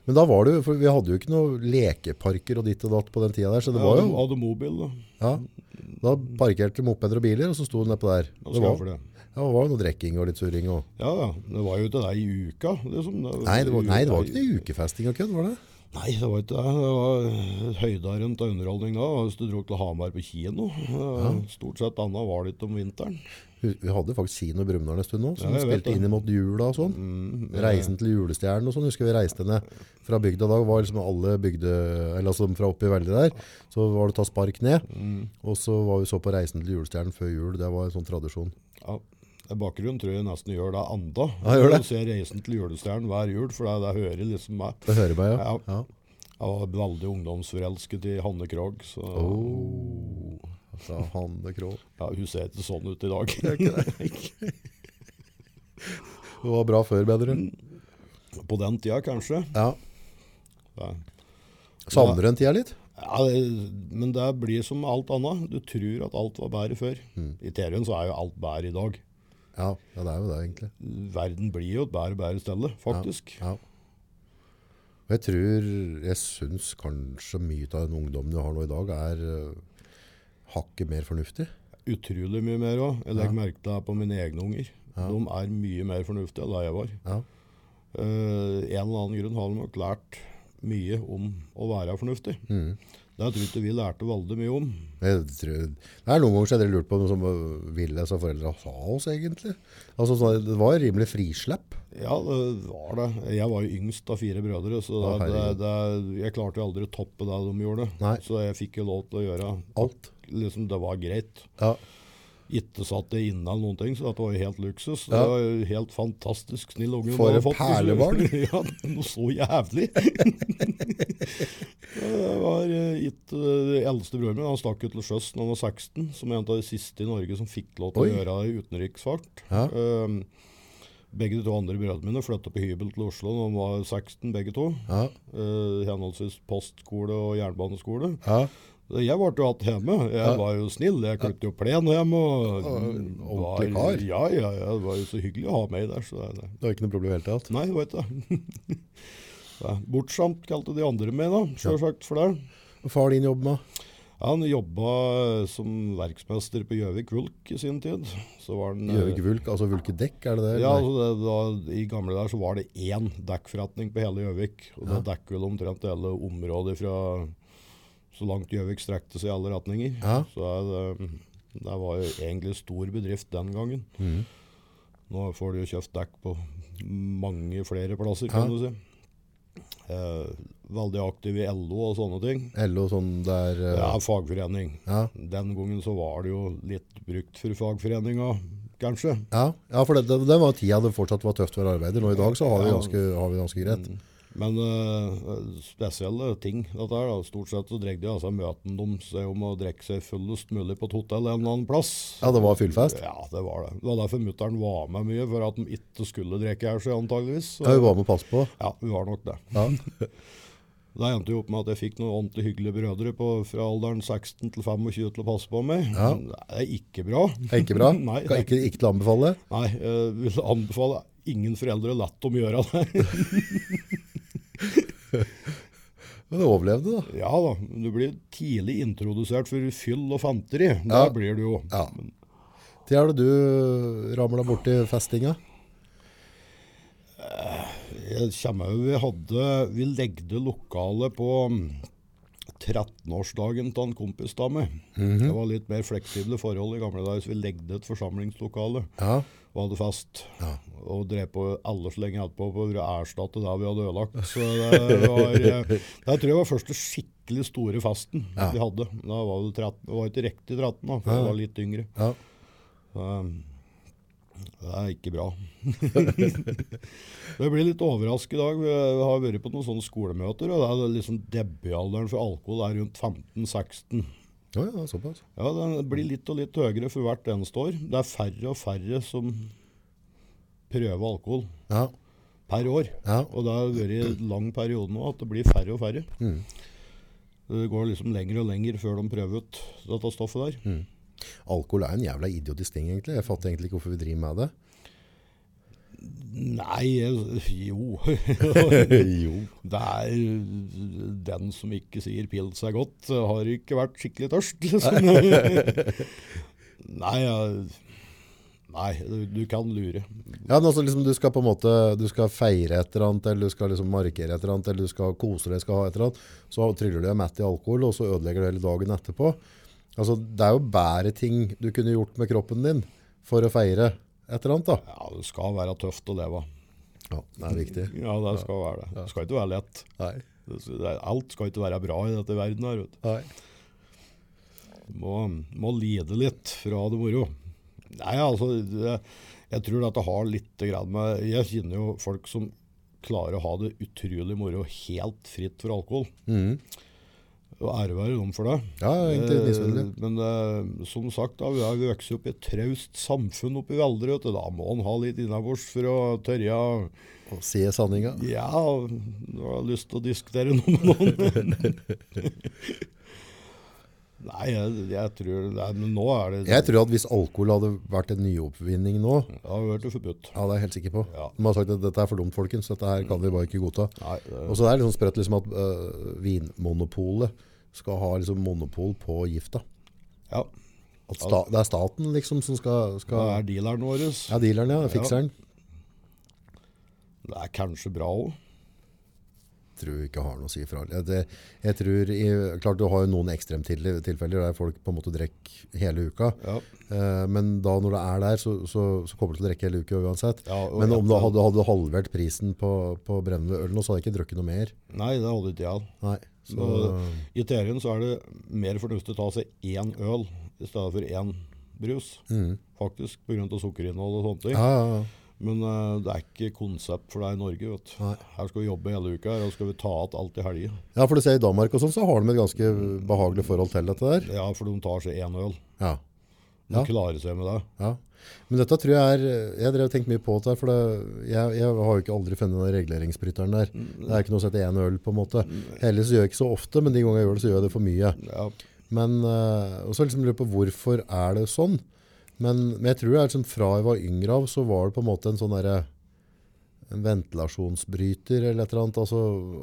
[SPEAKER 2] Men da var det jo, for vi hadde jo ikke noen lekeparker og ditt og datt på den tida der, så det var
[SPEAKER 1] Jeg
[SPEAKER 2] jo,
[SPEAKER 1] hadde mobil, da.
[SPEAKER 2] ja. Da parkerte mopeder og biler, og så sto du nedpå der.
[SPEAKER 1] Da
[SPEAKER 2] Det
[SPEAKER 1] skal jeg
[SPEAKER 2] var,
[SPEAKER 1] for det.
[SPEAKER 2] ja, det var jo noe drekking og litt surring og...
[SPEAKER 1] Ja, ja. Det var jo ikke det i uka. Liksom.
[SPEAKER 2] Nei, det var, nei, det var ikke det ukefesting og kødd, var det?
[SPEAKER 1] Nei, det var ikke det. Det var høydaren til underholdning da. Hvis du dro til Hamar på kino. Eh, Stort sett annet var det ikke om vinteren.
[SPEAKER 2] Hu- Vi hadde faktisk kino i Brumunddal en stund nå, som
[SPEAKER 1] Ja, jeg vet
[SPEAKER 2] spilte
[SPEAKER 1] det.
[SPEAKER 2] inn mot jula og sånn.
[SPEAKER 1] Mm,
[SPEAKER 2] Reisen til julestjernen og sånn, husker vi reiste ned fra bygda da, var liksom alle bygde, eller altså fra oppe i veldig der, så var det ta spark ned,
[SPEAKER 1] Mm.
[SPEAKER 2] og så var vi så på reisen til julestjernen før jul, det var en sånn tradisjon.
[SPEAKER 1] Ja. I bakgrunnen tror jeg nesten gjør det enda.
[SPEAKER 2] Ja, gjør det.
[SPEAKER 1] Du ser Reisen til julestjernen hver jul, for det, det hører liksom meg.
[SPEAKER 2] Det hører meg, ja.
[SPEAKER 1] Ja.
[SPEAKER 2] ja.
[SPEAKER 1] Jeg var veldig ungdomsforelsket i Hanne Krogh, så
[SPEAKER 2] Oh. Sa Hanne Krog.
[SPEAKER 1] ja, hun ser ikke sånn ut i dag.
[SPEAKER 2] Det var bra før, bedre.
[SPEAKER 1] Mm. På den tida, kanskje.
[SPEAKER 2] Ja.
[SPEAKER 1] Ja.
[SPEAKER 2] Savner du den tida litt?
[SPEAKER 1] Ja, det- men det blir som alt annet. Du tror at alt var bedre før.
[SPEAKER 2] Mm.
[SPEAKER 1] I teorien så er jo alt bedre i dag.
[SPEAKER 2] Ja, ja, det er jo det egentlig.
[SPEAKER 1] Verden blir jo et bedre og bedre sted, faktisk.
[SPEAKER 2] Ja. Og jeg tror, jeg syns kanskje mye av den ungdommen du har nå i dag, er øh, hakket mer fornuftig.
[SPEAKER 1] Utrolig mye mer òg. Jeg legger merke til det på mine egne unger. De er mye mer fornuftige enn det jeg var.
[SPEAKER 2] Ja.
[SPEAKER 1] Eh, en eller annen grunn har de nok lært mye om å være fornuftig.
[SPEAKER 2] Mm.
[SPEAKER 1] Det tror jeg ikke vi lærte veldig mye om.
[SPEAKER 2] Jeg tror, det er noen ganger så jeg lurt på noe som øh, ville seg foreldre ha oss, egentlig. Altså, sånn, det var rimelig frislepp.
[SPEAKER 1] Ja, det var det. Jeg var jo yngst av fire brødre, så
[SPEAKER 2] Å,
[SPEAKER 1] det, det,
[SPEAKER 2] herregud.
[SPEAKER 1] det, jeg klarte jo aldri å toppe det de gjorde.
[SPEAKER 2] Nei.
[SPEAKER 1] Så jeg fikk jo lov til å gjøre
[SPEAKER 2] Alt.
[SPEAKER 1] Liksom, det var greit.
[SPEAKER 2] Ja.
[SPEAKER 1] Ikke satt det inne eller noen ting, så dette var jo helt luksus.
[SPEAKER 2] Ja.
[SPEAKER 1] Det var jo helt fantastisk snill unge.
[SPEAKER 2] For
[SPEAKER 1] man har
[SPEAKER 2] et
[SPEAKER 1] fått,
[SPEAKER 2] perlebarn.
[SPEAKER 1] liksom. ja, noe så jævlig. det var eh, ikke eh, eldste broren min. Han stakk ut til sjøs da han var 16, som en av de siste i Norge som fikk lov til
[SPEAKER 2] Oi.
[SPEAKER 1] å gjøre det i utenriksfart.
[SPEAKER 2] Ja.
[SPEAKER 1] Eh, begge de to andre brødrene mine flytta på hybel til Oslo da de var 16, begge to.
[SPEAKER 2] Ja.
[SPEAKER 1] Eh, henholdsvis postskole og jernbaneskole.
[SPEAKER 2] ja.
[SPEAKER 1] Jeg ble jo hatt hjemme. Jeg var jo snill. Jeg klippte jo plen hjemme. Og
[SPEAKER 2] ordentlig kar.
[SPEAKER 1] Ja, ja, ja. Det var jo så hyggelig å ha meg der. Så det,
[SPEAKER 2] Det var ikke noe problem i det hele tatt.
[SPEAKER 1] nei, det var ikke det. Ja, Bortskjemt kalte de andre meg, da. Sjølsagt for det.
[SPEAKER 2] Hva Far din jobb med?
[SPEAKER 1] Han jobba som verksmester på Gjøvik Vulk i sin tid. Så var han eh,
[SPEAKER 2] Gjøvik Vulk, altså Vulke Dekk, er det det?
[SPEAKER 1] Ja,
[SPEAKER 2] Nei.
[SPEAKER 1] altså det, da, I gamle dager så var det én dekkforretning på hele Gjøvik. og Det dekker vel omtrent hele området fra så langt Gjøvik strekte seg i alle retninger.
[SPEAKER 2] Ja.
[SPEAKER 1] Så er det, det var jo egentlig stor bedrift den gangen.
[SPEAKER 2] Mm.
[SPEAKER 1] Nå får du jo kjøpt dekk på mange flere plasser, kan
[SPEAKER 2] Ja.
[SPEAKER 1] du si. Eh, veldig aktiv i LO og sånne ting.
[SPEAKER 2] LO sånn der øh,
[SPEAKER 1] Ja, fagforening.
[SPEAKER 2] ja.
[SPEAKER 1] Den gangen så var det jo litt brukt for fagforeninga, kanskje.
[SPEAKER 2] Ja, ja for det, det, det var tida det fortsatt var tøft for arbeider. Nå i dag så har vi
[SPEAKER 1] Ja. Mm.
[SPEAKER 2] ganske, har vi ganske greit.
[SPEAKER 1] Men eh, spesielle ting, dette her da. Stort sett så dregde de altså møten dem seg om å drekke seg fullest mulig på et hotell en eller annen plass.
[SPEAKER 2] Ja, det var fyllfest.
[SPEAKER 1] Ja, det var det. Det var derfor mutteren var med mye, for at de ikke skulle drekke her seg antageligvis. Så-
[SPEAKER 2] Ja, vi var med å passe på.
[SPEAKER 1] Ja, vi var nok det.
[SPEAKER 2] Ja.
[SPEAKER 1] Det endte jo opp med at jeg fikk noen ordentlig hyggelige brødre på, fra alderen 16 til 25 til å passe på meg.
[SPEAKER 2] Ja.
[SPEAKER 1] Men Det er ikke bra.
[SPEAKER 2] Er ikke bra?
[SPEAKER 1] Nei,
[SPEAKER 2] Kan ikke, ikke til å anbefale?
[SPEAKER 1] Nei, jeg vil anbefale ingen foreldre å la dem gjøre det.
[SPEAKER 2] Men du overlevde, da.
[SPEAKER 1] Ja da, du blir tidlig introdusert for fyll og fanteri.
[SPEAKER 2] Ja.
[SPEAKER 1] Det blir du jo.
[SPEAKER 2] Ja. Når er det du ramla borti festinga?
[SPEAKER 1] Jeg kommer jo, vi hadde, vi legde lokalet på 13-årsdagen til en kompis av meg. Det var litt mer fleksible forhold i gamle dager, så vi legde et forsamlingslokale
[SPEAKER 2] Ja.
[SPEAKER 1] og hadde fest.
[SPEAKER 2] Ja.
[SPEAKER 1] Og drev på alle så lenge etterpå for å erstatte det vi hadde ødelagt. Så det var, eh, det tror jeg var første skikkelig store festen
[SPEAKER 2] Ja.
[SPEAKER 1] vi hadde. Da var det 13, det var ikke riktig 13 da, for jeg var litt yngre.
[SPEAKER 2] ja.
[SPEAKER 1] Um, Det er ikke bra. jeg blir litt overrasket i dag. Vi har vært på noen sånne skolemøter, og det er liksom debutalderen for alkohol er rundt 15-16.
[SPEAKER 2] Ja, ja, såpass.
[SPEAKER 1] Ja, Den blir litt og litt høyere for hvert eneste år. Det er færre og færre som prøver alkohol
[SPEAKER 2] Ja.
[SPEAKER 1] per år.
[SPEAKER 2] Ja.
[SPEAKER 1] Og det har vært en lang periode nå at det blir færre og færre. Det går liksom lenger og lenger før de prøver ut dette stoffet der.
[SPEAKER 2] Alkohol er en jævla idiotisk ting, egentlig. Jeg fatter egentlig ikke hvorfor vi driver med det.
[SPEAKER 1] Nei, jeg- jo
[SPEAKER 2] jo.
[SPEAKER 1] Det er den som ikke sier pils er godt, har ikke vært skikkelig tørst, liksom. Nei, ja, nei du, du kan lure.
[SPEAKER 2] Ja, men altså liksom du skal på en måte Du skal feire et eller annet Eller du skal liksom markere et eller annet Eller du skal kose deg, skal ha et eller annet Så tryller du deg mett i alkohol Og så ødelegger du hele dagen etterpå Altså det er jo bære ting du kunne gjort med kroppen din For å feire et eller annet da
[SPEAKER 1] Ja, Det skal være tøft å leve.
[SPEAKER 2] Ja, det er viktig
[SPEAKER 1] Ja, det skal være det. Det skal ikke være lett.
[SPEAKER 2] Nei,
[SPEAKER 1] Det- det- Alt skal ikke være bra i dette verden her. vet du.
[SPEAKER 2] nei
[SPEAKER 1] Du må, må lide litt fra det moro. Nei, altså, det, jeg tror dette har litt grann med Jeg kjenner jo folk som klarer å ha det utrolig moro helt fritt for alkohol.
[SPEAKER 2] Mhm.
[SPEAKER 1] Og ære være dem for Mm. det.
[SPEAKER 2] Ja, egentlig
[SPEAKER 1] Eh,
[SPEAKER 2] misfølgelig
[SPEAKER 1] Men eh, som sagt, da, vi har jo vokst opp i et traust samfunn oppe i Veldre. vet du. Da må en ha litt innabords for å tørre å
[SPEAKER 2] Å si sanninga
[SPEAKER 1] Ja, du har lyst til å diskutere noe med noen. Nei, jeg, jeg tror nei, Men nå er det
[SPEAKER 2] Jeg tror at hvis alkohol hadde vært en nyoppvinning nå
[SPEAKER 1] Det har vært forbudt.
[SPEAKER 2] Ja, det er jeg helt sikker på
[SPEAKER 1] Ja.
[SPEAKER 2] De har sagt at dette er for dumt folkens Dette her kan vi bare ikke godta
[SPEAKER 1] Nei, det,
[SPEAKER 2] Og så er det liksom sprøtt liksom at øh, vinmonopolet skal ha liksom monopol på gifta.
[SPEAKER 1] ja.
[SPEAKER 2] At sta, det er staten liksom som skal,
[SPEAKER 1] Det
[SPEAKER 2] skal
[SPEAKER 1] er dealeren vår.
[SPEAKER 2] Ja, dealeren, ja. Fikseren.
[SPEAKER 1] Det er kanskje bra òg.
[SPEAKER 2] Tror vi ikke har noe å si fra. Jeg, det, jeg tror, i, klart du har jo noen ekstremtilfeller tilfeller der folk på en måte drekker hele uka.
[SPEAKER 1] Ja.
[SPEAKER 2] Eh, men da når det er der, så, så, så kommer du til å drikke hele uka uansett.
[SPEAKER 1] Ja, og
[SPEAKER 2] men om du
[SPEAKER 1] etter-
[SPEAKER 2] hadde, hadde halvert prisen på, på brennende øl nå, så hadde jeg ikke drukket noe mer.
[SPEAKER 1] Nei, det hadde ikke jeg.
[SPEAKER 2] Nei. Så,
[SPEAKER 1] Og I teorien så er det mer fornuftig å ta seg én øl i stedet for én brus. Faktisk, pga. sukkerinnhold og sånne ting.
[SPEAKER 2] Mm. ja, ja, ja.
[SPEAKER 1] Men eh, det er ikke konsept for deg i Norge. vet du.
[SPEAKER 2] Nei.
[SPEAKER 1] Her skal vi jobbe hele uka, her og skal vi ta igjen alt i helga.
[SPEAKER 2] Ja, for du ser i Danmark og sånn, så har de et ganske behagelig forhold til dette der.
[SPEAKER 1] Ja, for de tar seg én øl.
[SPEAKER 2] Ja,
[SPEAKER 1] De
[SPEAKER 2] Ja.
[SPEAKER 1] klarer seg med det.
[SPEAKER 2] ja. Men dette tror jeg er, jeg drev og tenkte mye på det her, for det, jeg, jeg har jo ikke aldri funnet den reguleringsbryteren der. Det er ikke noe å sette en øl på en måte. Heldigvis gjør jeg ikke så ofte, men de ganger jeg gjør det, så gjør jeg det for mye.
[SPEAKER 1] Ja,
[SPEAKER 2] Men, eh, og så liksom lurer jeg på hvorfor er det sånn? Men, men jeg tror det er liksom fra jeg var yngre av, så var det på en måte en sånn derre en ventilasjonsbryter eller et eller annet, altså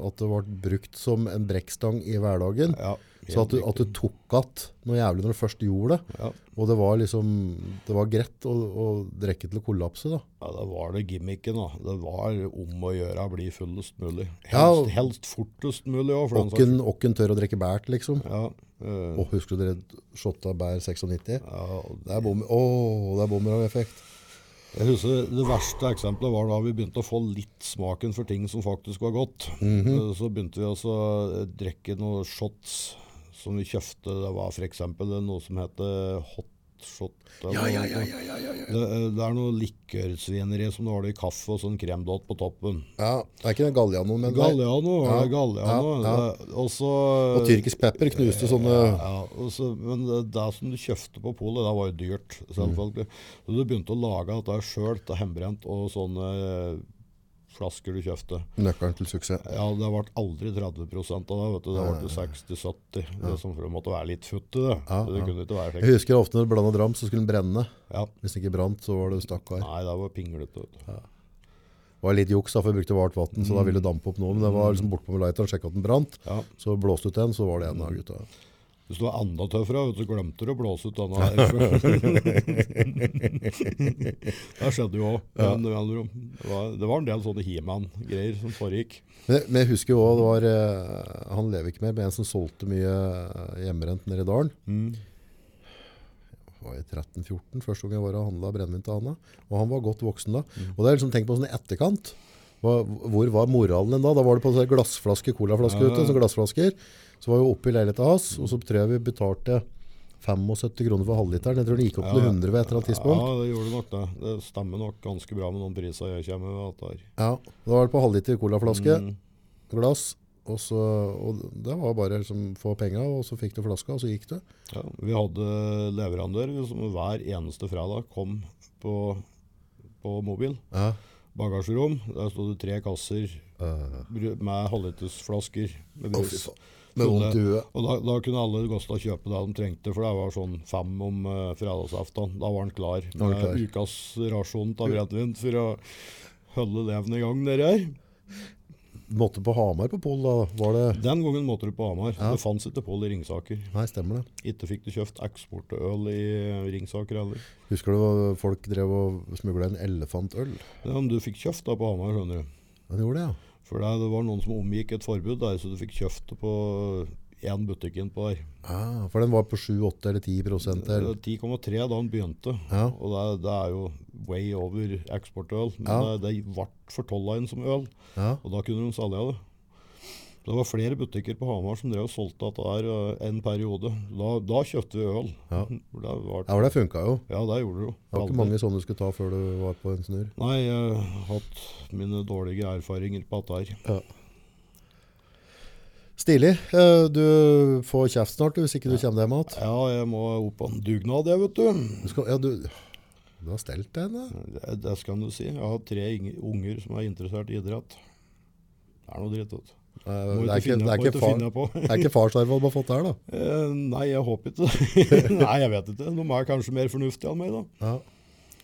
[SPEAKER 2] at det ble brukt som en brekkstang i hverdagen.
[SPEAKER 1] ja.
[SPEAKER 2] Så at du, at du tok att noe jævlig når du først gjorde det.
[SPEAKER 1] ja.
[SPEAKER 2] Og det var liksom, det var greit å, å drekke til å kollapse da.
[SPEAKER 1] ja, da var det gimmicken, da. Det var om å gjøre å bli fullest mulig. Helst,
[SPEAKER 2] Ja, og-
[SPEAKER 1] helst fortest mulig òg, for den saks
[SPEAKER 2] Åkken, åkken tør å drekke bært liksom.
[SPEAKER 1] skyld. Ja, eh,
[SPEAKER 2] Og husker du dere shotta bær 96?
[SPEAKER 1] ja, og
[SPEAKER 2] Det er bomber, åh, det er bomber av effekt.
[SPEAKER 1] Jeg husker Det verste eksempelet var da vi begynte å få litt smaken for ting som faktisk var godt.
[SPEAKER 2] Mhm.
[SPEAKER 1] Eh, Så begynte vi også å drikke noen shots som vi kjøpte. Det var f.eks. noe som heter hot shot. eller
[SPEAKER 2] Ja, ja, ja,
[SPEAKER 1] noe.
[SPEAKER 2] ja, ja, ja, ja.
[SPEAKER 1] Det, eh, det er noe likørsvineri som du har det i kaffe og sånn kremdott på toppen.
[SPEAKER 2] Ja, det er ikke den gallianoen, men eh, det er-
[SPEAKER 1] Galliano var det.
[SPEAKER 2] Ja,
[SPEAKER 1] Galliano.
[SPEAKER 2] ja, ja.
[SPEAKER 1] Det- Og så
[SPEAKER 2] og tyrkisk pepper knuste sånne,
[SPEAKER 1] Ja, og så, men det, det som du kjøpte på polet, det var jo dyrt,
[SPEAKER 2] Mm.
[SPEAKER 1] selvfølgelig. Så du begynte å lage dette sjøl, det hembrent og sånne eh, flasker du kjøpte.
[SPEAKER 2] Nøkkelen til suksess.
[SPEAKER 1] Ja, det ble aldri 30 av det. vet du. Det ble 60-70 Det som for det måtte være litt futt i det.
[SPEAKER 2] Ja,
[SPEAKER 1] Det
[SPEAKER 2] ja.
[SPEAKER 1] kunne ikke være slik.
[SPEAKER 2] Jeg husker ofte når det blanda dram, så skulle den brenne.
[SPEAKER 1] Ja.
[SPEAKER 2] Hvis den ikke brant, så var det stakkar.
[SPEAKER 1] Nei, det var pinglete. vet du.
[SPEAKER 2] Det var litt juks, da, for jeg brukte varmt vann, så da ville det dampe opp noe. Men jeg var liksom bortpå med lighteren, sjekka at den brant.
[SPEAKER 1] Ja.
[SPEAKER 2] Så blåste ut den, så var det en av gutta.
[SPEAKER 1] Hvis du var enda tøffere, vet du, så glemte du å blåse ut denne her. det skjedde jo òg. Men det var- det var en del sånne He-Man-greier som foregikk.
[SPEAKER 2] Men jeg, men jeg husker jo også, det var eh, Han lever ikke mer, men en som solgte mye eh, hjemmerent nede i dalen.
[SPEAKER 1] Mm.
[SPEAKER 2] Jeg var i 13-14 første gang jeg var og handla brennevin til Anna. Og han var godt voksen da.
[SPEAKER 1] Mm.
[SPEAKER 2] Og det er liksom tenkt på sånn i etterkant. Hva, hvor var moralen din da? Da var det på sånne glassflaske, colaflaske
[SPEAKER 1] Ja.
[SPEAKER 2] ute, sånne glassflasker. Så var vi oppe i leiligheta hans, og så tror jeg vi betalte 75 kroner for halvliteren. Jeg tror den gikk opp til
[SPEAKER 1] Ja.
[SPEAKER 2] 100 ved et eller annet tidspunkt.
[SPEAKER 1] Ja, det gjorde nok det. Det stemmer nok ganske bra med noen priser jeg kommer med. At det er.
[SPEAKER 2] Ja, da var det på halvliter colaflaske, glass, og, så, og det var bare liksom, få penger, og så fikk du flaska, og så gikk det.
[SPEAKER 1] Ja, vi hadde leverandør vi som hver eneste fredag kom på, på mobil.
[SPEAKER 2] Ja.
[SPEAKER 1] Bagasjerom, der stod det tre kasser
[SPEAKER 2] Eh,
[SPEAKER 1] bru- med halvlitersflasker med
[SPEAKER 2] Å,
[SPEAKER 1] brus.
[SPEAKER 2] fy faen. Med vondt i huet.
[SPEAKER 1] Og da, da kunne alle gå til å kjøpe det de trengte, for det var sånn fem om uh, fredagsaften. Da var han klar med
[SPEAKER 2] var han klar.
[SPEAKER 1] ukas rasjon av brennevin for å holde leven i gang nedi her.
[SPEAKER 2] Måtte på Hamar på Pol, da var det
[SPEAKER 1] Den gangen måtte du på Hamar. Det fantes ikke Pål i Ringsaker.
[SPEAKER 2] Nei, stemmer det.
[SPEAKER 1] Ikke fikk du kjøpt eksportøl i eh, Ringsaker heller.
[SPEAKER 2] Husker du hva folk drev og smugla en elefantøl?
[SPEAKER 1] Ja, men du fikk kjøpt da på Hamar, skjønner du.
[SPEAKER 2] Ja, de gjorde det, ja.
[SPEAKER 1] For det, det var noen som omgikk et forbud der, så du fikk kjøpt det på én butikken på der.
[SPEAKER 2] Ah, for den var på 7, 8 eller 10 prosent.
[SPEAKER 1] Det
[SPEAKER 2] Eller.
[SPEAKER 1] var 10,3 da den begynte,
[SPEAKER 2] Ja.
[SPEAKER 1] og det, det er jo way over eksportøl. Men
[SPEAKER 2] Ja.
[SPEAKER 1] det, det ble fortolla inn som øl,
[SPEAKER 2] Ja.
[SPEAKER 1] og da kunne de selge det. Det var flere butikker på Hamar som drev og solgte dette her eh, en periode. Da, da kjøpte vi øl.
[SPEAKER 2] Ja.
[SPEAKER 1] For Det var,
[SPEAKER 2] ja, for det funka jo.
[SPEAKER 1] ja, det gjorde det jo.
[SPEAKER 2] Det var ikke mange sånne du skulle ta før du var på en snurr.
[SPEAKER 1] Nei, jeg har hatt mine dårlige erfaringer på dette her.
[SPEAKER 2] Stilig. Eh, Du får kjeft snart du, hvis ikke du kommer deg hjem igjen.
[SPEAKER 1] Ja, jeg må opp på en dugnad, jeg, vet du.
[SPEAKER 2] Du, skal- ja, du, du har stelt deg, da.
[SPEAKER 1] Det, det skal du si. Jeg har tre ing- unger som er interessert i idrett. Det er noe dritt, vet du.
[SPEAKER 2] Nei,
[SPEAKER 1] Må
[SPEAKER 2] Eh, det er ikke,
[SPEAKER 1] finne,
[SPEAKER 2] det er
[SPEAKER 1] må
[SPEAKER 2] ikke, far,
[SPEAKER 1] finne på.
[SPEAKER 2] det er ikke farsarven man har fått der, da.
[SPEAKER 1] Eh, Nei, jeg håper ikke Nei, jeg vet ikke. De er kanskje mer fornuftige enn meg, da.
[SPEAKER 2] Ja.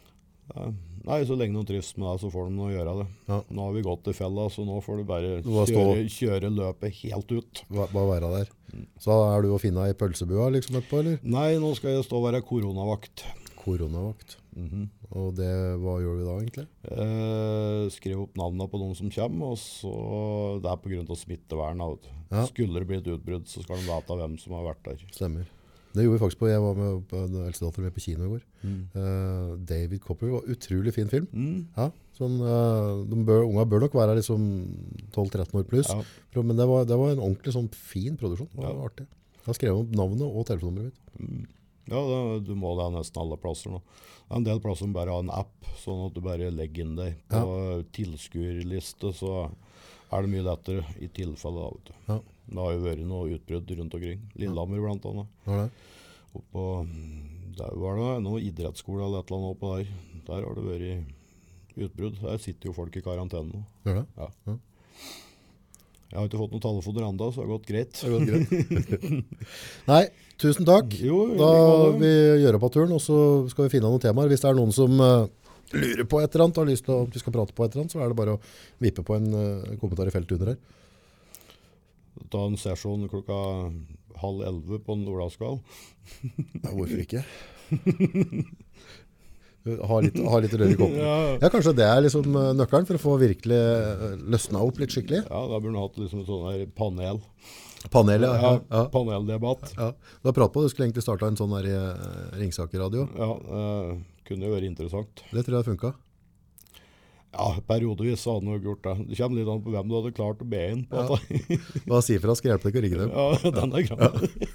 [SPEAKER 1] Eh, Nei, så lenge de trives med det, så får de noe å gjøre det.
[SPEAKER 2] Ja.
[SPEAKER 1] Nå har vi gått i fella, så nå får du bare
[SPEAKER 2] Du må
[SPEAKER 1] kjøre, kjøre løpet helt ut.
[SPEAKER 2] Ba- Bare være der.
[SPEAKER 1] Mm.
[SPEAKER 2] Så er du å finne i pølsebua liksom etterpå, eller?
[SPEAKER 1] Nei, nå skal jeg stå og være koronavakt.
[SPEAKER 2] Koronavakt.
[SPEAKER 1] Mhm.
[SPEAKER 2] Og det, hva gjør vi da, egentlig?
[SPEAKER 1] Eh, skriv opp navnene på de som kommer, og så det er pga. smittevern. da, vet du.
[SPEAKER 2] Ja.
[SPEAKER 1] Skulle det bli et utbrudd, så skal de vite hvem som har vært der.
[SPEAKER 2] Stemmer. Det gjorde vi faktisk på, jeg var med på en eldstedatter min på kino i går.
[SPEAKER 1] Mm.
[SPEAKER 2] Eh, David Copperfield var utrolig fin film. Ja, sånn, eh, de bør, unga bør nok være liksom 12-13 år pluss.
[SPEAKER 1] Ja.
[SPEAKER 2] For- Men det var, det var en ordentlig sånn fin produksjon. Det var
[SPEAKER 1] Ja.
[SPEAKER 2] artig. Jeg skrev opp navnet og telefonnummeret mitt.
[SPEAKER 1] Ja, da, du må det nesten alle plasser nå. Det er en del plasser som bare har en app, sånn at du bare legger inn deg på tilskuerliste, så er det mye lettere i tilfelle. da, vet du.
[SPEAKER 2] Ja.
[SPEAKER 1] Det har jo vært noe utbrudd rundt omkring. Lillehammer blant annet.
[SPEAKER 2] Hva er det?
[SPEAKER 1] Oppå, der var det noe idrettsskole eller et eller annet oppå der. Der har det vært utbrudd. Der sitter jo folk i karantene nå.
[SPEAKER 2] Gjør det?
[SPEAKER 1] Ja. Jeg har ikke fått noen telefoner ennå, så det har gått greit.
[SPEAKER 2] Nei, tusen takk.
[SPEAKER 1] Jo, i
[SPEAKER 2] da
[SPEAKER 1] like måte.
[SPEAKER 2] vi gjør opp av turen, og så skal vi finne noen temaer. Hvis det er noen som eh, lurer på et eller annet, har lyst til at vi skal prate på et eller annet, så er det bare å vippe på en eh, kommentar i feltet under her.
[SPEAKER 1] Ta en sesjon klokka halv elleve på en Olavskvall.
[SPEAKER 2] hvorfor ikke? ha litt, ha litt rør i koppen. Ja.
[SPEAKER 1] Ja.
[SPEAKER 2] kanskje det er liksom eh, nøkkelen for å få virkelig eh, løsna opp litt skikkelig.
[SPEAKER 1] Ja, da burde du hatt liksom et sånn her panel.
[SPEAKER 2] Panelet,
[SPEAKER 1] Ja,
[SPEAKER 2] ja. ja.
[SPEAKER 1] Paneldebatt.
[SPEAKER 2] ja. Du har pratet på, du skulle egentlig starta en sånn her eh, Ringsaker-radio.
[SPEAKER 1] Ja, eh, kunne jo vært interessant.
[SPEAKER 2] Det tror jeg funka.
[SPEAKER 1] Ja, periodevis så hadde han nok gjort det. Det kommer litt an på hvem du hadde klart å be inn på.
[SPEAKER 2] Bare si ifra, skal hjelpe deg ikke å rigge dem.
[SPEAKER 1] Ja, den er grei.